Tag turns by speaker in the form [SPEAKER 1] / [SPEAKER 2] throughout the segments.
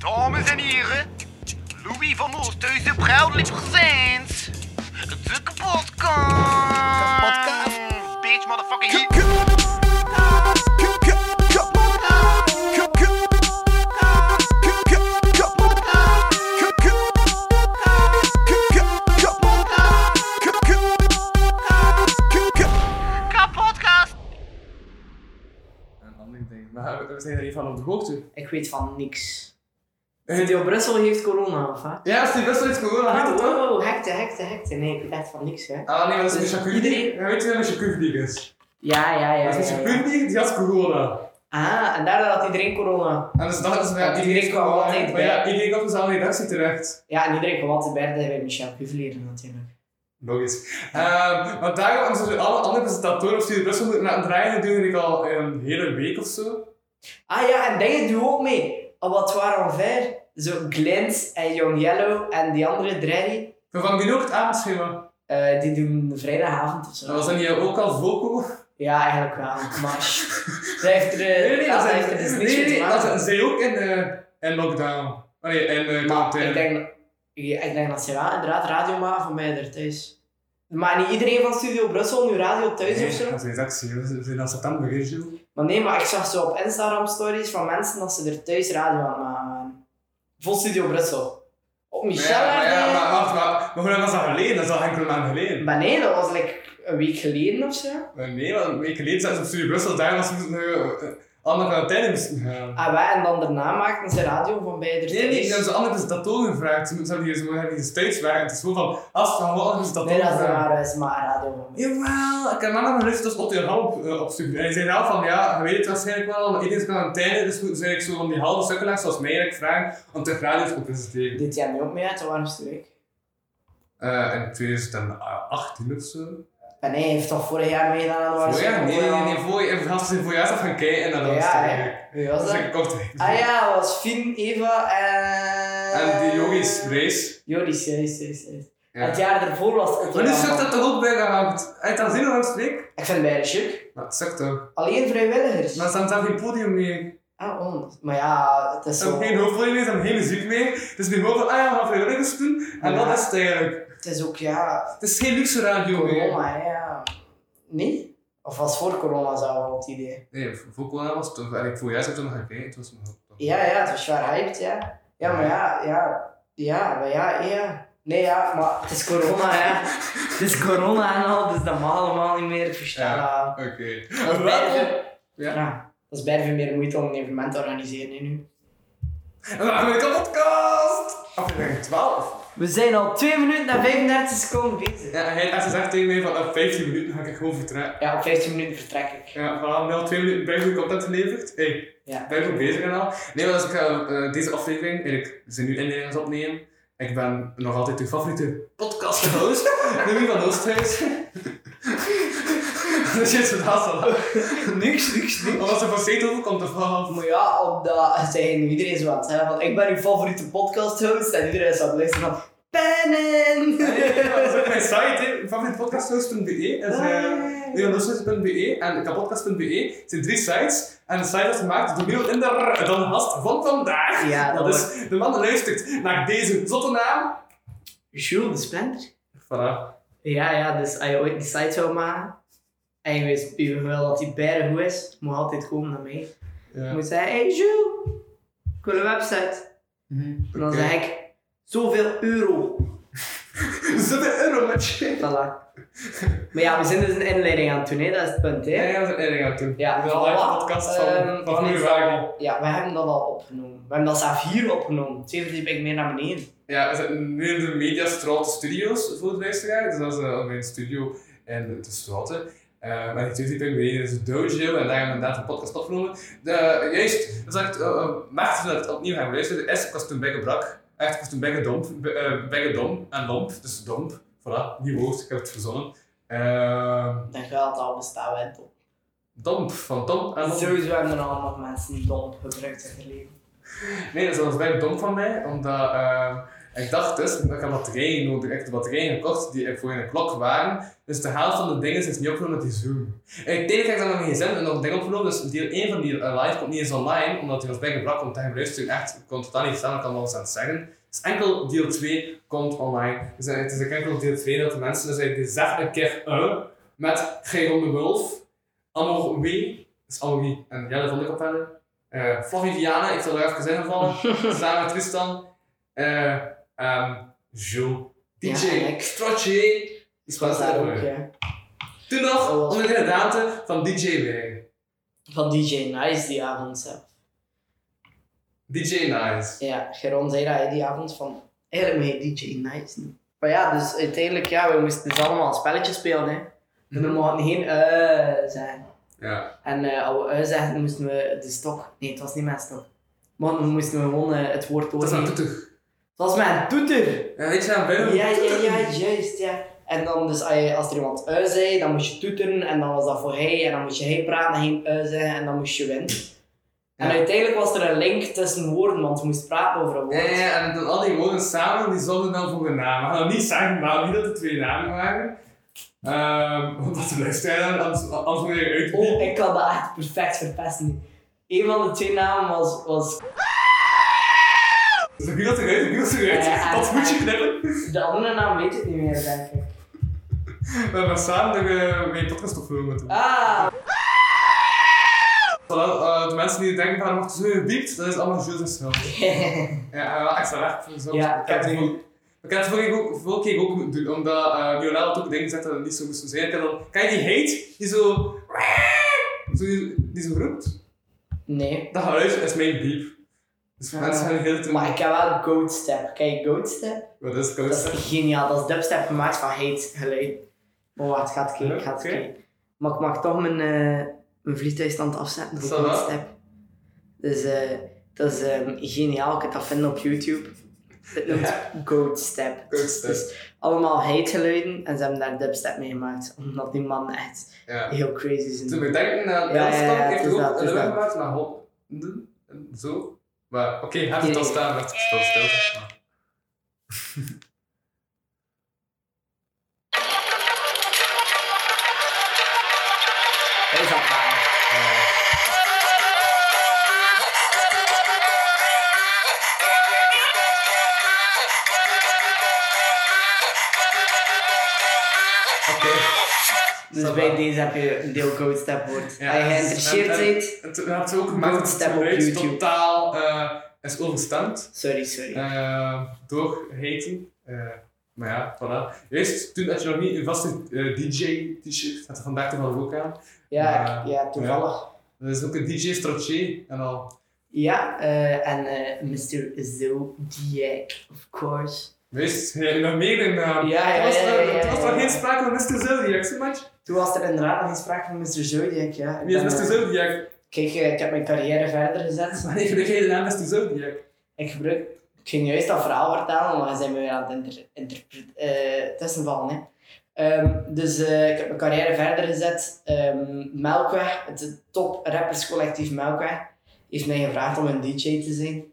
[SPEAKER 1] Dames en heren, Louis van Oosthuizen, proudly presents de kapotkast.
[SPEAKER 2] Kapotkast.
[SPEAKER 1] Bitch, motherfucking
[SPEAKER 2] K-
[SPEAKER 1] hit.
[SPEAKER 2] k- k- k- kapotkast. K- k- k- k- kapotkast. K- k- k- k- kapotkast. K- k- k- k-
[SPEAKER 1] Kapotkast.
[SPEAKER 3] en andere dingen. Maar we zijn er even van op de hoogte.
[SPEAKER 4] Ik weet van niks.
[SPEAKER 3] Eh,
[SPEAKER 4] Studio Brussel heeft corona, of wat?
[SPEAKER 3] Ja, Steve Brussel heeft corona gehad,
[SPEAKER 4] Oh,
[SPEAKER 3] toch?
[SPEAKER 4] oh, oh, hekte, hekte, hekte. Nee, ik weet echt van niks, hè.
[SPEAKER 3] Ah nee, maar dat is
[SPEAKER 4] Dus
[SPEAKER 3] Misha Kurdi.
[SPEAKER 4] iedereen-
[SPEAKER 3] Ja, Weet je wie Misha Kurdi is?
[SPEAKER 4] Ja, ja, ja.
[SPEAKER 3] Dat is
[SPEAKER 4] ja,
[SPEAKER 3] Misha
[SPEAKER 4] ja.
[SPEAKER 3] Kurdi, die had corona.
[SPEAKER 4] Ah, en daardoor had iedereen corona.
[SPEAKER 3] En dus dachten ze,
[SPEAKER 4] Ja,
[SPEAKER 3] ja, iedereen
[SPEAKER 4] die kwam
[SPEAKER 3] kwam
[SPEAKER 4] altijd
[SPEAKER 3] Maar ja,
[SPEAKER 4] bij.
[SPEAKER 3] iedereen kwam dus aan de redactie terecht.
[SPEAKER 4] Ja, en iedereen kwam altijd bij bij Michel Cuvelier natuurlijk.
[SPEAKER 3] Logisch. Ehm, want daarom hebben ze alle andere presentatoren op Studio Brussel moeten laten draaien. Dat doe ik al een hele week of zo.
[SPEAKER 4] Ah ja, en daar doe ook mee. Oh, wat waren onver? Zo Glint en Young Yellow en die andere drie,
[SPEAKER 3] Maar van nu ook het avondschema.
[SPEAKER 4] eh, die doen vrijdagavond of zo.
[SPEAKER 3] Dat was dan hier ook al vocal.
[SPEAKER 4] Eh, Ja, eigenlijk wel. Maar zij heeft er, eh,
[SPEAKER 3] Nee, nee,
[SPEAKER 4] ja,
[SPEAKER 3] dat
[SPEAKER 4] zij
[SPEAKER 3] zijn,
[SPEAKER 4] heeft er dus
[SPEAKER 3] nee,
[SPEAKER 4] niks
[SPEAKER 3] nee,
[SPEAKER 4] mee te
[SPEAKER 3] dat
[SPEAKER 4] maken.
[SPEAKER 3] zijn zij ook in, eh in lockdown. Oh nee, in eh
[SPEAKER 4] Maar
[SPEAKER 3] quarantaine.
[SPEAKER 4] ik denk, dat- ja, ik denk dat ze wel inderdaad radio maken van mij daar thuis. Maar niet iedereen van Studio Brussel nu radio thuis
[SPEAKER 3] Nee,
[SPEAKER 4] of zo.
[SPEAKER 3] Dat is redactie, we zijn in september, hè, Gilles?
[SPEAKER 4] Maar nee, maar ik zag zo op Instagram stories van mensen dat ze er thuis radio aan het maken waren. Vol Studio Brussel. Op Michel
[SPEAKER 3] Ja, maar, ja,
[SPEAKER 4] RTL.
[SPEAKER 3] maar wacht, maar, maar hoe lang was dat geleden? Dat is al enkele maanden geleden.
[SPEAKER 4] Maar nee, dat was like een week geleden of zo.
[SPEAKER 3] Maar nee, want een week geleden zaten ze op Studio Brussel, daar was ze uh, andere quarantaine moesten gaan.
[SPEAKER 4] Ah, wij, en dan daarna maakten ze radio van beide
[SPEAKER 3] Nee, nee, ze hebben ze andere presentatoren gevraagd. Ze moeten ze hebben hier- ze hebben hier thuis werken. Het is gewoon van, als we gaan wel andere
[SPEAKER 4] Nee,
[SPEAKER 3] presentatoren
[SPEAKER 4] dat is
[SPEAKER 3] vragen.
[SPEAKER 4] maar, is maar radio van mij.
[SPEAKER 3] Jawel, ik heb wel nog geluisterd als Otto Jan op, eh, op studio. En hij zei wel van, ja, je weet het waarschijnlijk wel, maar iedereen is quarantaine, dus moeten ze eigenlijk zo van die halve sukkelaars zoals mij eigenlijk vragen om te radio te presenteren.
[SPEAKER 4] Dit jaar nu ook mee uit de warmste week.
[SPEAKER 3] Eh, in 2018 of zo.
[SPEAKER 4] Maar nee, hij heeft toch vorig jaar meegedaan aan de warmste
[SPEAKER 3] Voorjaar? Nee, nee, nee, nee,
[SPEAKER 4] Ja,
[SPEAKER 3] voorjaar. Even gasten zijn voorjaar gaan kijken en dan was
[SPEAKER 4] ja,
[SPEAKER 3] het
[SPEAKER 4] hè.
[SPEAKER 3] er.
[SPEAKER 4] Wie
[SPEAKER 3] Dat
[SPEAKER 4] was
[SPEAKER 3] is
[SPEAKER 4] dat?
[SPEAKER 3] een korte.
[SPEAKER 4] Ah ja, dat was Finn, Eva en...
[SPEAKER 3] En die jongens, race.
[SPEAKER 4] Joris, juist, juist, juist.
[SPEAKER 3] Ja.
[SPEAKER 4] Het jaar daarvoor was het...
[SPEAKER 3] Maar nu sukt dat toch ook bijna hard. Hij had zin langs week.
[SPEAKER 4] Ik vind het bijna chic.
[SPEAKER 3] Maar het sukt toch.
[SPEAKER 4] Alleen vrijwilligers.
[SPEAKER 3] Maar er staat zelf geen podium meer.
[SPEAKER 4] Ah, on. Maar ja, het is
[SPEAKER 3] Er is
[SPEAKER 4] zo...
[SPEAKER 3] geen hoofdpodium meer, er is geen muziek meer. Dus nu mogen van, ah ja, we gaan vrijwilligers doen. En
[SPEAKER 4] Ja.
[SPEAKER 3] dat is het eigenlijk.
[SPEAKER 4] Het is ook, ja...
[SPEAKER 3] Het is geen luxe radio meer.
[SPEAKER 4] Corona, hè, ja. Nee? Of was voor corona zou wel het idee.
[SPEAKER 3] Nee, voor corona was het toch. Eigenlijk voorjaar zat toen nog gekeken. Het was nog.
[SPEAKER 4] Ja, ja, het was zwaar hyped, ja. Ja, maar ja, ja... Ja, maar ja, ja... Nee, ja, maar het is corona, ja. Het is corona en al, dus dat mag allemaal niet meer. Ik versta
[SPEAKER 3] Ja.
[SPEAKER 4] dat.
[SPEAKER 3] Oké.
[SPEAKER 4] Dat is
[SPEAKER 3] Welkom.
[SPEAKER 4] bijna- Ja, dat is bijna veel meer moeite om een evenement te organiseren hè, nu.
[SPEAKER 3] Welkom bij de podcast. Aflevering 12.
[SPEAKER 4] We zijn al 2 minuten en 35 seconden bezig.
[SPEAKER 3] Ja, hij had gezegd tegen mij van op 15 minuten ga ik gewoon vertrekken.
[SPEAKER 4] Ja, op 15 minuten vertrek ik.
[SPEAKER 3] Ja, voilà, wel twee minuten ben ik content geleverd. Hey,
[SPEAKER 4] Ja.
[SPEAKER 3] ben ik ook bezig en al. Nee, maar als ik ga eh, deze aflevering, en ik ze nu inleiding gaan opnemen, ik ben nog altijd uw favoriete podcast-host, Louis van Oosthuis. Dat is het haast al.
[SPEAKER 4] Niks, niks,
[SPEAKER 3] Omdat ze van zetel komt te vallen.
[SPEAKER 4] Maar ja, omdat zij nu iedereen zo aan het zeggen van ik ben uw favoriete podcast-host en iedereen is aan het luisteren van pennen.
[SPEAKER 3] Dat is ook mijn site, hè. favorietepodcasthost.be. Dat is eh, leonardosus.be en kapodcast.be. E. Het zijn drie sites. En de site is gemaakt door Leon Inder, dan gast van vandaag.
[SPEAKER 4] Ja,
[SPEAKER 3] dat
[SPEAKER 4] dat
[SPEAKER 3] is de man die luistert naar deze zotte naam.
[SPEAKER 4] Jules de Splinter?
[SPEAKER 3] Voilà.
[SPEAKER 4] Ja, ja, dus als je ooit die site zou maken en je weet je wel dat die bijna goed is, moet je altijd komen naar mij.
[SPEAKER 3] Ja.
[SPEAKER 4] Je moet zeggen, hey Jules, ik wil een website. En dan
[SPEAKER 3] Oké.
[SPEAKER 4] zeg ik, zoveel euro.
[SPEAKER 3] Zoveel euro met je.
[SPEAKER 4] Voilà. Maar ja, we zijn dus een inleiding aan het doen, hè? dat is het punt. Hè?
[SPEAKER 3] Ja, ja, dat is een inleiding aan toe.
[SPEAKER 4] Ja,
[SPEAKER 3] dat is een live
[SPEAKER 4] voilà.
[SPEAKER 3] podcast van,
[SPEAKER 4] Ehm,
[SPEAKER 3] van Goede
[SPEAKER 4] is
[SPEAKER 3] Vragen.
[SPEAKER 4] al- Ja, we hebben dat al opgenomen. We hebben dat zelf hier opgenomen. Twee verdiepingen meer naar beneden.
[SPEAKER 3] Ja, we zitten nu in de Media Straat Studios voor de luisteraar. Dus dat is eh, mijn studio in de Straten. Eh maar ik zit hier beneden is het dojo en daar hebben we inderdaad een podcast opgenomen. De, juist, dat is echt, eh, eh, maart dat we het opnieuw gaan luisteren, is ik was toen bij gebrak. Echt, ik was toen bij gedomp, bij, eh, bij gedom en lomp, dus domp. Voilà, nieuw woord, ik heb het verzonnen. Eh,
[SPEAKER 4] Dan gaat het al bestaan, Wentel.
[SPEAKER 3] domp, van dom en lomp.
[SPEAKER 4] Sowieso hebben er allemaal nog mensen die domp gebruikt in hun leven.
[SPEAKER 3] Nee, dat was bij domp van mij, omdat eh, En ik dacht dus, dat ik had batterijen nodig. Ik heb de batterijen gekocht die voor in een klok waren. Dus de helft van de dingen is niet opgenomen met die Zoom. En uiteindelijk heb ik dan nog geen zin en nog een ding opgenomen. Dus deel 1 van die eh, live komt niet eens online, omdat die was bijgebracht. Want tegen luisteren echt, ik kon totaal niet verstaan, ik kan alles aan het zeggen. Dus enkel deel 2 komt online. Dus eh, het is ook enkel deel 2 dat de mensen, dus eigenlijk die zeggen een keer eh, met Geron de Wolf, Amor W, dus Amor W en Jelle van de Kapelle, eh Flavie Viana, ik zal er even in vallen, samen met Tristan, eh ehm Jules, DJ,
[SPEAKER 4] Ja, en ik.
[SPEAKER 3] Strotje, is
[SPEAKER 4] Dat
[SPEAKER 3] pas
[SPEAKER 4] is daar ook, ja.
[SPEAKER 3] Toen nog,
[SPEAKER 4] Dat was-
[SPEAKER 3] onder de datum van DJ Wij,
[SPEAKER 4] Van DJ Nice die avond zelf.
[SPEAKER 3] DJ Nice.
[SPEAKER 4] Ja, Geron zei dat hij die avond van, eigenlijk ben je DJ Nice niet. Maar ja, dus uiteindelijk, ja, we moesten dus allemaal een spelletje spelen, hè. En er mochten geen eh zijn.
[SPEAKER 3] Ja,
[SPEAKER 4] En eh als we eh zeggen, moesten we de stok, nee, het was niet mijn stok. Maar dan moesten we gewoon eh, het woord
[SPEAKER 3] dat is
[SPEAKER 4] doornemen.
[SPEAKER 3] een
[SPEAKER 4] Het
[SPEAKER 3] toeter.
[SPEAKER 4] was mijn toeter!
[SPEAKER 3] Ja, weet je aan binnen?
[SPEAKER 4] Ja, ja, ja, juist, ja. En dan dus als je- als er iemand ui zei, dan moest je toeteren en dan was dat voor hij en dan moest je hij praten en hij ui zeggen en dan moest je winnen. En
[SPEAKER 3] Ja.
[SPEAKER 4] uiteindelijk was er een link tussen woorden, want je moest praten over een woord.
[SPEAKER 3] Ja, ja, en dan al die woorden samen, die zonden dan voor een naam. We gaan niet zeggen, maar niet dat het twee namen waren. Ehm, want dat luistert dan, anders anders moet je uit.
[SPEAKER 4] Oh, ik kan dat echt perfect verpesten. Een van de twee namen was, was
[SPEAKER 3] Dus wie dat eruit, wie dat eruit.
[SPEAKER 4] Ja, ja,
[SPEAKER 3] dat moet je
[SPEAKER 4] ja.
[SPEAKER 3] knippen.
[SPEAKER 4] de andere naam weet ik niet meer, denk ik.
[SPEAKER 3] We hebben samen uh, mijn podcast opgenomen met hem.
[SPEAKER 4] Ah,
[SPEAKER 3] Voilà, eh, de mensen die denken, waarom wordt er zo gebiept? Dat is allemaal Jules' schuld. Ja, en wel extra werk voor zo.
[SPEAKER 4] Ja,
[SPEAKER 3] ik heb het
[SPEAKER 4] ik-
[SPEAKER 3] voor- ik heb het vorige keer ook- vorige keer ook moeten doen, omdat eh Lionel had ook dingen gezegd dat het niet zo moest zijn. Ik heb dan- Ken je die hate die zo... zo die, die zo roept?
[SPEAKER 4] nee.
[SPEAKER 3] Dat geluid is mijn beep. Dus
[SPEAKER 4] Ja.
[SPEAKER 3] mensen gaan heel te
[SPEAKER 4] Maar ik heb wel een goat step. Ken je goat step?
[SPEAKER 3] Wat is
[SPEAKER 4] Dat
[SPEAKER 3] koudste?
[SPEAKER 4] is geniaal. Dat is dubstep gemaakt van heet geluid. Maar wat, gaat het kijken, gaat het
[SPEAKER 3] Oké.
[SPEAKER 4] kijken. Maar ik mag toch mijn, eh mijn vliegtuigstand afzetten voor
[SPEAKER 3] Ça va.
[SPEAKER 4] goatstep. Dus eh, dat is ehm, geniaal. Ik kan dat vinden op YouTube. Het noemt
[SPEAKER 3] Ja.
[SPEAKER 4] goatstep.
[SPEAKER 3] Goatstep.
[SPEAKER 4] Dus allemaal heetgeluiden en ze hebben daar dubstep mee gemaakt. Omdat die man echt
[SPEAKER 3] Ja.
[SPEAKER 4] heel crazy is. in
[SPEAKER 3] Toen ik denk naar
[SPEAKER 4] Ja, ja,
[SPEAKER 3] Elskamp,
[SPEAKER 4] ja,
[SPEAKER 3] heeft
[SPEAKER 4] het is
[SPEAKER 3] ook
[SPEAKER 4] dat, het
[SPEAKER 3] een
[SPEAKER 4] is
[SPEAKER 3] weg
[SPEAKER 4] dat.
[SPEAKER 3] gemaakt naar Honden en zo. Maar oké, heb je
[SPEAKER 4] Nee.
[SPEAKER 3] het al staan, werd het al stil. Maar-
[SPEAKER 4] Hij is dat daar.
[SPEAKER 3] Oké.
[SPEAKER 4] Dus
[SPEAKER 3] Ça va.
[SPEAKER 4] bij deze heb je een deel goatstep woord.
[SPEAKER 3] Ja,
[SPEAKER 4] Als je
[SPEAKER 3] en-
[SPEAKER 4] geïnteresseerd
[SPEAKER 3] en- en-
[SPEAKER 4] bent...
[SPEAKER 3] en Toen had ze ook gemaakt dat
[SPEAKER 4] Goatstep
[SPEAKER 3] het
[SPEAKER 4] op
[SPEAKER 3] geluid
[SPEAKER 4] YouTube.
[SPEAKER 3] totaal eh, is overstemd.
[SPEAKER 4] Sorry, sorry.
[SPEAKER 3] eh door Haiti. Eh, maar ja, voilà. Eerst toen had je nog niet een vaste eh, DJ-t-shirt. Had er vandaag toevallig ook aan.
[SPEAKER 4] Ja,
[SPEAKER 3] Maar-
[SPEAKER 4] ik- ja toevallig.
[SPEAKER 3] Dat is ook een DJ-strotje en al.
[SPEAKER 4] Ja, eh, en eh Mr. Zodiac, of course.
[SPEAKER 3] Wees je nog meer in. eh,
[SPEAKER 4] Ja, ja,
[SPEAKER 3] er was,
[SPEAKER 4] ja, ja,
[SPEAKER 3] er-
[SPEAKER 4] ja,
[SPEAKER 3] er was
[SPEAKER 4] ja,
[SPEAKER 3] nog
[SPEAKER 4] ja.
[SPEAKER 3] geen sprake van Mr. Zodiac, zeg maar.
[SPEAKER 4] Toen was er inderdaad nog geen sprake van Mr. Zodiac, ja. Ik
[SPEAKER 3] Wie is
[SPEAKER 4] ben,
[SPEAKER 3] Mr.
[SPEAKER 4] eh,
[SPEAKER 3] Zodiac?
[SPEAKER 4] Kijk, eh, ik heb mijn carrière verder gezet.
[SPEAKER 3] Maar nee, gebruik jij de naam Mr. Zodiac?
[SPEAKER 4] Ik gebruik... Ik ging juist dat verhaal vertellen, maar we zijn me weer aan het inter, interpre- eh, tussenvallen, hè. Ehm, dus eh, ik heb mijn carrière verder gezet. Ehm, Melkweg, het top rapperscollectief Melkweg, heeft mij gevraagd om een DJ te zijn.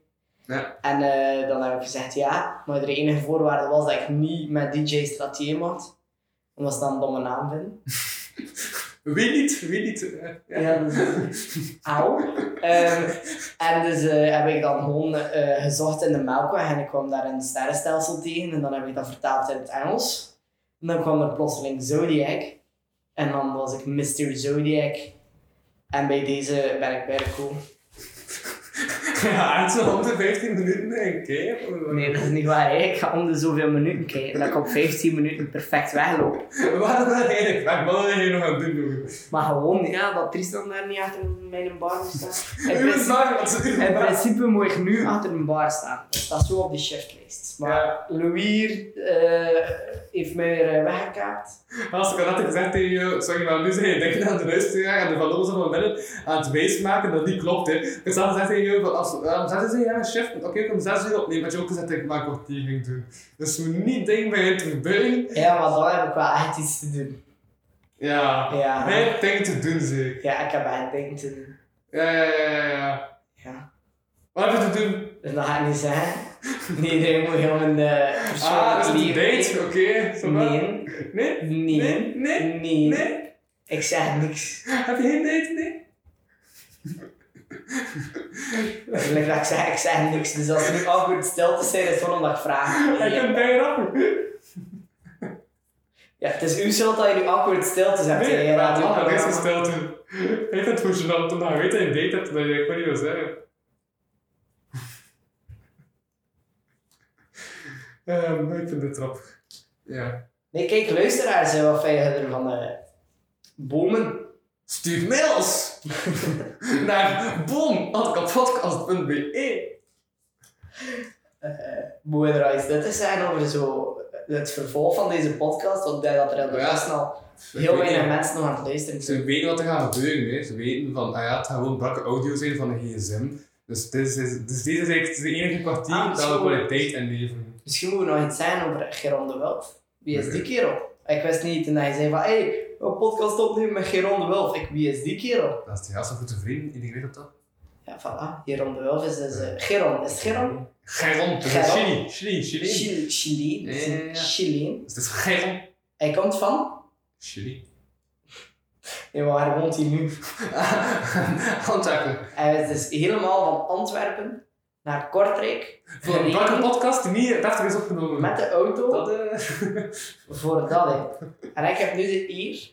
[SPEAKER 3] Ja.
[SPEAKER 4] En eh, dan heb ik gezegd ja, maar de enige voorwaarde was dat ik niet met DJ Stratier mocht. Omdat ze dan een domme naam vinden.
[SPEAKER 3] Wie niet? Wie niet? eh, ja.
[SPEAKER 4] dat is- Auw. Ehm, en dus eh, heb ik dan gewoon eh, gezocht in de Melkweg en ik kwam daar een sterrenstelsel tegen en dan heb ik dat vertaald in het Engels. En dan kwam er plotseling Zodiac en dan was ik Mr. Zodiac. En bij deze ben ik bij cool.
[SPEAKER 3] Ja, het is 115 minuten eh, in een keer.
[SPEAKER 4] Nee, dat is niet waar. hè. Ik ga om de zoveel minuten kijken. Dat ik op 15 minuten perfect wegloop.
[SPEAKER 3] Waar is dat eigenlijk? Waar wil je nog aan doen? jongen?
[SPEAKER 4] Maar gewoon, ja, dat Tristan daar niet achter mijn bar moet staan. In
[SPEAKER 3] Uw
[SPEAKER 4] principe,
[SPEAKER 3] zaak, wat ze
[SPEAKER 4] in principe moet ik nu achter een bar staan. Dus dat is zo op de shiftlijst. Maar
[SPEAKER 3] Ja.
[SPEAKER 4] Louis hier, eh, heeft mij weer eh, weggekaapt.
[SPEAKER 3] Als ik al had gezegd tegen je, sorry maar nu zijn je denken aan de luisteraar en de vallozen van binnen aan het wijsmaken dat niet klopt. Hè. Ik had al gezegd tegen je, van als eh, om zes uur ja, een shift, oké, ik om zes uur opnemen, had je ook gezegd dat ik maar een kwartier ging doen. Dus we niet dingen bij het gebeuren.
[SPEAKER 4] Ja, maar dan heb ik wel echt iets te doen.
[SPEAKER 3] Ja,
[SPEAKER 4] Ja.
[SPEAKER 3] mijn ding te doen zeker.
[SPEAKER 4] Ja, ik heb echt dingen te doen.
[SPEAKER 3] Ja, ja, ja, ja, ja.
[SPEAKER 4] Ja.
[SPEAKER 3] Wat heb je te doen?
[SPEAKER 4] Dus dat ga ik niet zeggen. Nee, nee, ik moet helemaal een eh,
[SPEAKER 3] Ah,
[SPEAKER 4] persoonlijk
[SPEAKER 3] dat is een
[SPEAKER 4] leven.
[SPEAKER 3] date? Oké. zo maar.
[SPEAKER 4] Nee.
[SPEAKER 3] Nee?
[SPEAKER 4] Nee.
[SPEAKER 3] Nee? Nee?
[SPEAKER 4] Nee.
[SPEAKER 3] Nee?
[SPEAKER 4] Ik zeg niks.
[SPEAKER 3] Heb je geen date? Nee?
[SPEAKER 4] Like dat ik, zeg, ik zeg niks. Dus als er nu awkward stilte zijn, is het gewoon omdat ik vraag.
[SPEAKER 3] Hij kan bij je rappen.
[SPEAKER 4] Ja, het is uw schuld dat je nu awkward stilte zegt.
[SPEAKER 3] Nee,
[SPEAKER 4] ja,
[SPEAKER 3] ja,
[SPEAKER 4] laat
[SPEAKER 3] dat
[SPEAKER 4] lachen,
[SPEAKER 3] had ik
[SPEAKER 4] maar-
[SPEAKER 3] gesteld toen. Ik vind het hoe gênant om weet dat je een date hebt dat je eigenlijk niet wil zeggen. Ehm, ik vind dit grappig. Ja.
[SPEAKER 4] Nee, kijk, luisteraars, hè, wat vind je er van eh, bomen?
[SPEAKER 3] Stuur mails naar bom.kapotkast.be
[SPEAKER 4] Moet er al iets nuttigs zijn over zo het vervolg van deze podcast? Want ik denk dat er in de
[SPEAKER 3] Ja.
[SPEAKER 4] best al heel weinig mensen nog aan het luisteren zijn.
[SPEAKER 3] Ze weten wat er gaat gebeuren. Hè. Ze weten van, ah ja, het gaat gewoon brakke audio zijn van een gsm. Dus, dit is, dus deze is eigenlijk de enige kwartier
[SPEAKER 4] Ah,
[SPEAKER 3] dat
[SPEAKER 4] zo.
[SPEAKER 3] we kwaliteit inleveren.
[SPEAKER 4] Misschien moeten we nog iets zeggen over Geron de Wulf. Wie is die kerel? Ik wist niet, en hij zei van, hé, hey, een podcast opnemen met Geron de Wulf. Ik, wie is die kerel?
[SPEAKER 3] Dat is de juiste goede vriend, integreert dat dan?
[SPEAKER 4] Ja, voilà, Geron de Wulf is dus... eh, Geron, is het Geron?
[SPEAKER 3] Geron,
[SPEAKER 4] Geron.
[SPEAKER 3] Chili, Chili, Chili.
[SPEAKER 4] Chili- Chili, dat is
[SPEAKER 3] Ja, ja, ja.
[SPEAKER 4] een Chileen.
[SPEAKER 3] Dus het is Geron.
[SPEAKER 4] Hij komt van...
[SPEAKER 3] Chili.
[SPEAKER 4] Nee, maar waar woont hij nu?
[SPEAKER 3] Handtakken.
[SPEAKER 4] Hij is dus helemaal van Antwerpen naar Kortrijk.
[SPEAKER 3] Voor een
[SPEAKER 4] gereden
[SPEAKER 3] brakke podcast die niet 80 is opgenomen.
[SPEAKER 4] Met de auto
[SPEAKER 3] Dat, eh,
[SPEAKER 4] voor dat. Hè. En ik heb nu de eer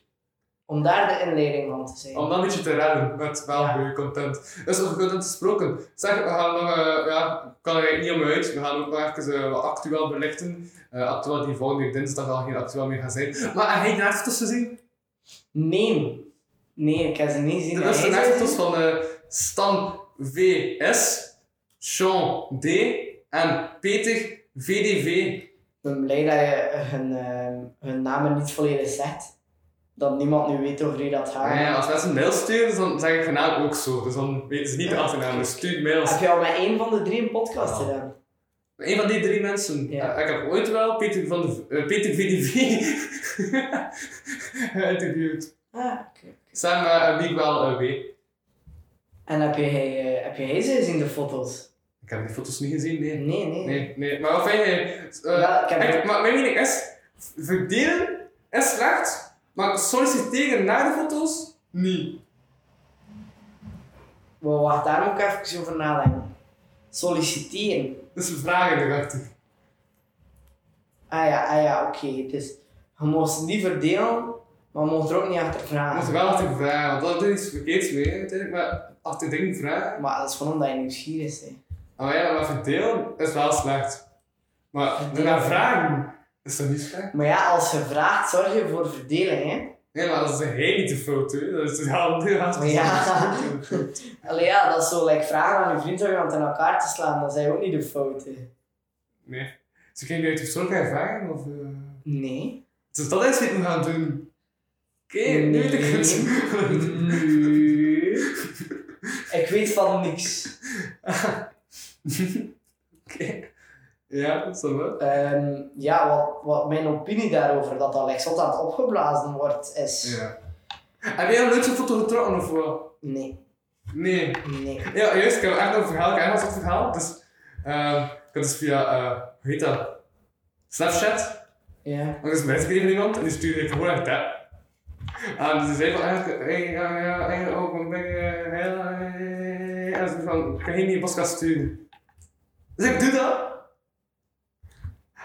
[SPEAKER 4] om daar de inleiding van te zijn.
[SPEAKER 3] om dan een beetje te redden met wel
[SPEAKER 4] Ja.
[SPEAKER 3] goede content. Dus over content gesproken. Zeg, we gaan nog, eh, ja, ik kan er eigenlijk niet om uit. We gaan ook nog even eh, wat actueel belichten. Eh actueel die volgende week dinsdag al geen actueel meer gaan zijn. Maar heb je de nachtos gezien?
[SPEAKER 4] Nee. Nee, ik heb ze niet
[SPEAKER 3] De
[SPEAKER 4] zien.
[SPEAKER 3] beste
[SPEAKER 4] Hij is-
[SPEAKER 3] nachtos van eh, Stan VS, Sean D en Peter VDV.
[SPEAKER 4] Ik ben blij dat je hun, eh, hun namen niet volledig zegt. Dat niemand nu weet over wie dat gaat.
[SPEAKER 3] Ja, Eh, als mensen mail sturen, dus dan zeg ik hun naam ook zo. Dus dan weten ze niet de achternaam. Dus stuur mails.
[SPEAKER 4] Heb je al met één van de drie een podcast
[SPEAKER 3] Ja.
[SPEAKER 4] gedaan?
[SPEAKER 3] Een van die drie mensen.
[SPEAKER 4] Ja.
[SPEAKER 3] Eh, Ik heb ooit wel Peter, van de, eh, Peter VDV geïnterviewd. eh,
[SPEAKER 4] Ah, oké.
[SPEAKER 3] Samen met Miguel W.
[SPEAKER 4] En heb jij, eh, heb jij ze gezien, de foto's?
[SPEAKER 3] Ik heb die foto's niet gezien, nee.
[SPEAKER 4] Nee, nee.
[SPEAKER 3] Nee, nee. Maar wat vind je? eh,
[SPEAKER 4] Ja, ik heb-
[SPEAKER 3] ik- maar mijn mening is, verdelen is slecht, maar solliciteren naar de foto's, niet.
[SPEAKER 4] We wacht, daar moet ik even over nadenken. Solliciteren.
[SPEAKER 3] Dus we vragen erachter.
[SPEAKER 4] Ah ja, ah ja, oké. Het is, je mocht ze niet verdelen, maar je mocht er ook niet achter
[SPEAKER 3] We
[SPEAKER 4] vragen.
[SPEAKER 3] moeten wel achter vragen, want dat is iets verkeerds mee, hè, uiteindelijk. Maar achter dingen vragen.
[SPEAKER 4] Maar dat is gewoon omdat je nieuwsgierig bent.
[SPEAKER 3] Ah ja, maar verdelen is wel slecht. Maar daarna vragen is dat niet slecht?
[SPEAKER 4] Maar ja, als je vraagt, zorg je voor verdeling, hè?
[SPEAKER 3] Nee, maar dat is een hele te fout, hè. Dat is totaal niet aan te
[SPEAKER 4] Ja.
[SPEAKER 3] doen.
[SPEAKER 4] Allee, ja, dat is zo, like, vragen aan je vriend om iemand in elkaar te slaan, dat zijn ook niet de fouten.
[SPEAKER 3] Nee. Dus ik ging je uit de persoonlijke ervaring, of... eh,
[SPEAKER 4] Nee.
[SPEAKER 3] Dus dat is wat we gaan doen. Oké, nu weet ik het.
[SPEAKER 4] Nee. Ik weet van niks.
[SPEAKER 3] Oké. Ja, dat is wel wel.
[SPEAKER 4] Ehm, ja, wat, wat mijn opinie daarover, dat dat like, zot aan het opgeblazen wordt, is...
[SPEAKER 3] Ja. Heb jij een leuke foto getrokken, of wat?
[SPEAKER 4] Nee,
[SPEAKER 3] Nee.
[SPEAKER 4] nee.
[SPEAKER 3] Ja, juist, ik heb echt nog een verhaal, ik heb echt nog een verhaal. Dus, ehm, ik heb dus via, eh, hoe heet dat? Snapchat?
[SPEAKER 4] Ja.
[SPEAKER 3] Want ik is bijgeschreven iemand en die stuurde ik gewoon Ah, echt dat. En ze zei van eigenlijk, hey, ja, ja, hey, oh, ik ben eh, heel, eh, En ze van, kan je niet een podcast sturen? Dus ik doe dat.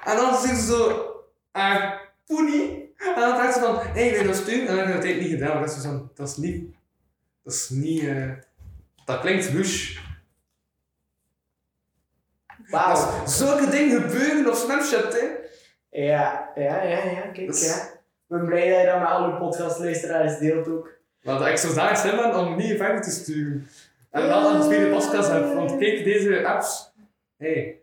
[SPEAKER 3] En dan zegt ze zo, ah, poenie. En dan vraagt ze van, hé, hey, wil je dat sturen? En dan heb ik dat eigenlijk niet gedaan, want dat is van, dat is niet, dat is niet, eh, dat klinkt lush.
[SPEAKER 4] Wauw.
[SPEAKER 3] Dus zulke dingen gebeuren op Snapchat, hè.
[SPEAKER 4] Ja, ja, ja, ja, kijk,
[SPEAKER 3] Dat is-
[SPEAKER 4] ja. Ik ben blij dat je dat met alle podcastluisteraars deelt ook.
[SPEAKER 3] Maar dat ik zodanig slim ben om niet verder te sturen. En dan een tweede podcast heb, want kijk deze apps. Hey.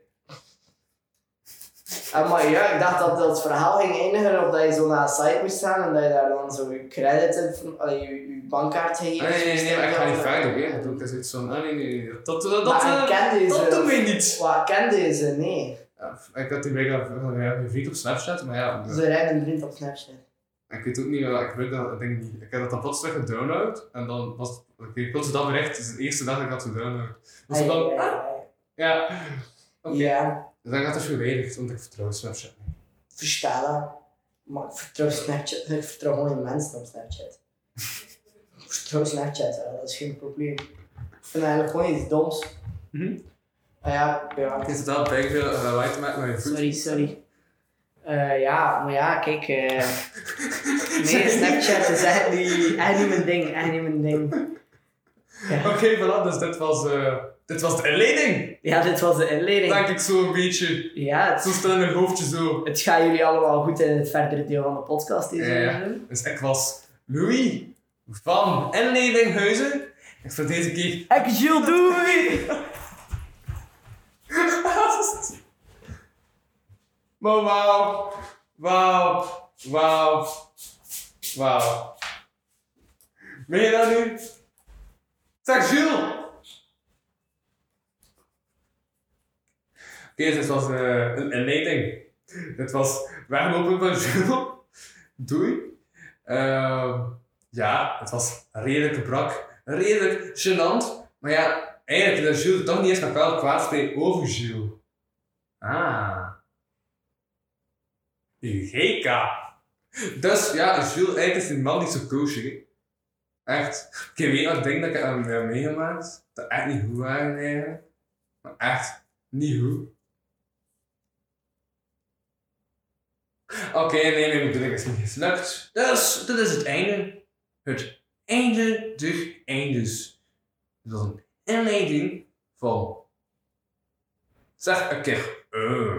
[SPEAKER 4] Ah, maar ja, ik dacht dat dat verhaal ging eindigen op dat je zo naar een site moest gaan en dat je daar dan zo je credit, allee, je, je bankkaartgegevens
[SPEAKER 3] Nee, nee, nee,
[SPEAKER 4] moest
[SPEAKER 3] nee, maar ik ga niet
[SPEAKER 4] invullen.
[SPEAKER 3] verder. hè. Dat doe ik dat is iets van. ah, Nee, nee, nee. Dat, dat, dat,
[SPEAKER 4] Maar ik
[SPEAKER 3] eh,
[SPEAKER 4] ken deze.
[SPEAKER 3] dat doen we niet.
[SPEAKER 4] Wat, ik ken deze? Nee.
[SPEAKER 3] Ja, Ik had die week al- al een vriend op Snapchat, maar ja.
[SPEAKER 4] Ze rijden een vriend op Snapchat.
[SPEAKER 3] Ik weet ook niet, ja, ik weet dat ding niet. Ik heb dat dan plots terug gedownload en dan was het. Oké, ik kon ze dat bericht, het is de eerste dag dat ik dat gedownload. Dus
[SPEAKER 4] Ai,
[SPEAKER 3] dan,
[SPEAKER 4] ai,
[SPEAKER 3] ah,
[SPEAKER 4] ai.
[SPEAKER 3] ja. Oké,
[SPEAKER 4] Ja,
[SPEAKER 3] Dus dan gaat het verwijderd, want ik vertrouw Snapchat niet.
[SPEAKER 4] versta dat. Maar ik vertrouw Snapchat, ik vertrouw gewoon geen mensen op Snapchat. ik vertrouw Snapchat, hè, dat is geen probleem. Ik vind eigenlijk gewoon iets doms.
[SPEAKER 3] Mhm.
[SPEAKER 4] Ah ja, ja.
[SPEAKER 3] Het is totaal pijnlijk veel uh, light te maken met je voet.
[SPEAKER 4] Sorry, sorry. Eh, ja, maar ja, kijk. eh, nee, Snapchat is echt niet, echt niet mijn ding. Echt niet mijn ding.
[SPEAKER 3] Oké, voilà, dus dit was, eh, dit was de inleiding.
[SPEAKER 4] Ja, dit was de inleiding.
[SPEAKER 3] Denk ik zo een beetje.
[SPEAKER 4] Ja,
[SPEAKER 3] Zo
[SPEAKER 4] het,
[SPEAKER 3] staan in mijn hoofdje zo.
[SPEAKER 4] het gaat jullie allemaal goed in het verdere deel van de podcast. Deze
[SPEAKER 3] Ja. Dus ik was Louis van Inleidinghuizen. Ik voor deze keer.
[SPEAKER 4] Ik Gilles, doei!
[SPEAKER 3] maar wauw. Wauw. Wauw. Wauw. Meen je dat nu? Zeg Jules! Oké, dit was eh, een inleiding. Dit was weglopen van Jules. Doei. Ehm, ja, het was redelijk brak. Redelijk gênant. Maar ja, eigenlijk dat Jules toch niet eens nog wel kwaad spreekt over Jules. Ah. Eureka. Dus ja, Jules, eigenlijk is die man niet zo coachy. hè. Echt. Ik weet nog, ik denk dat ik hem heb meegemaakt. Dat echt niet goed waren eigenlijk. Maar echt niet goed. Oké, nee, mijn bedoeling is niet geslacht. Dus, dit is het einde. Het einde der eindes. Dit was een inleiding van... Zeg een keer... eh.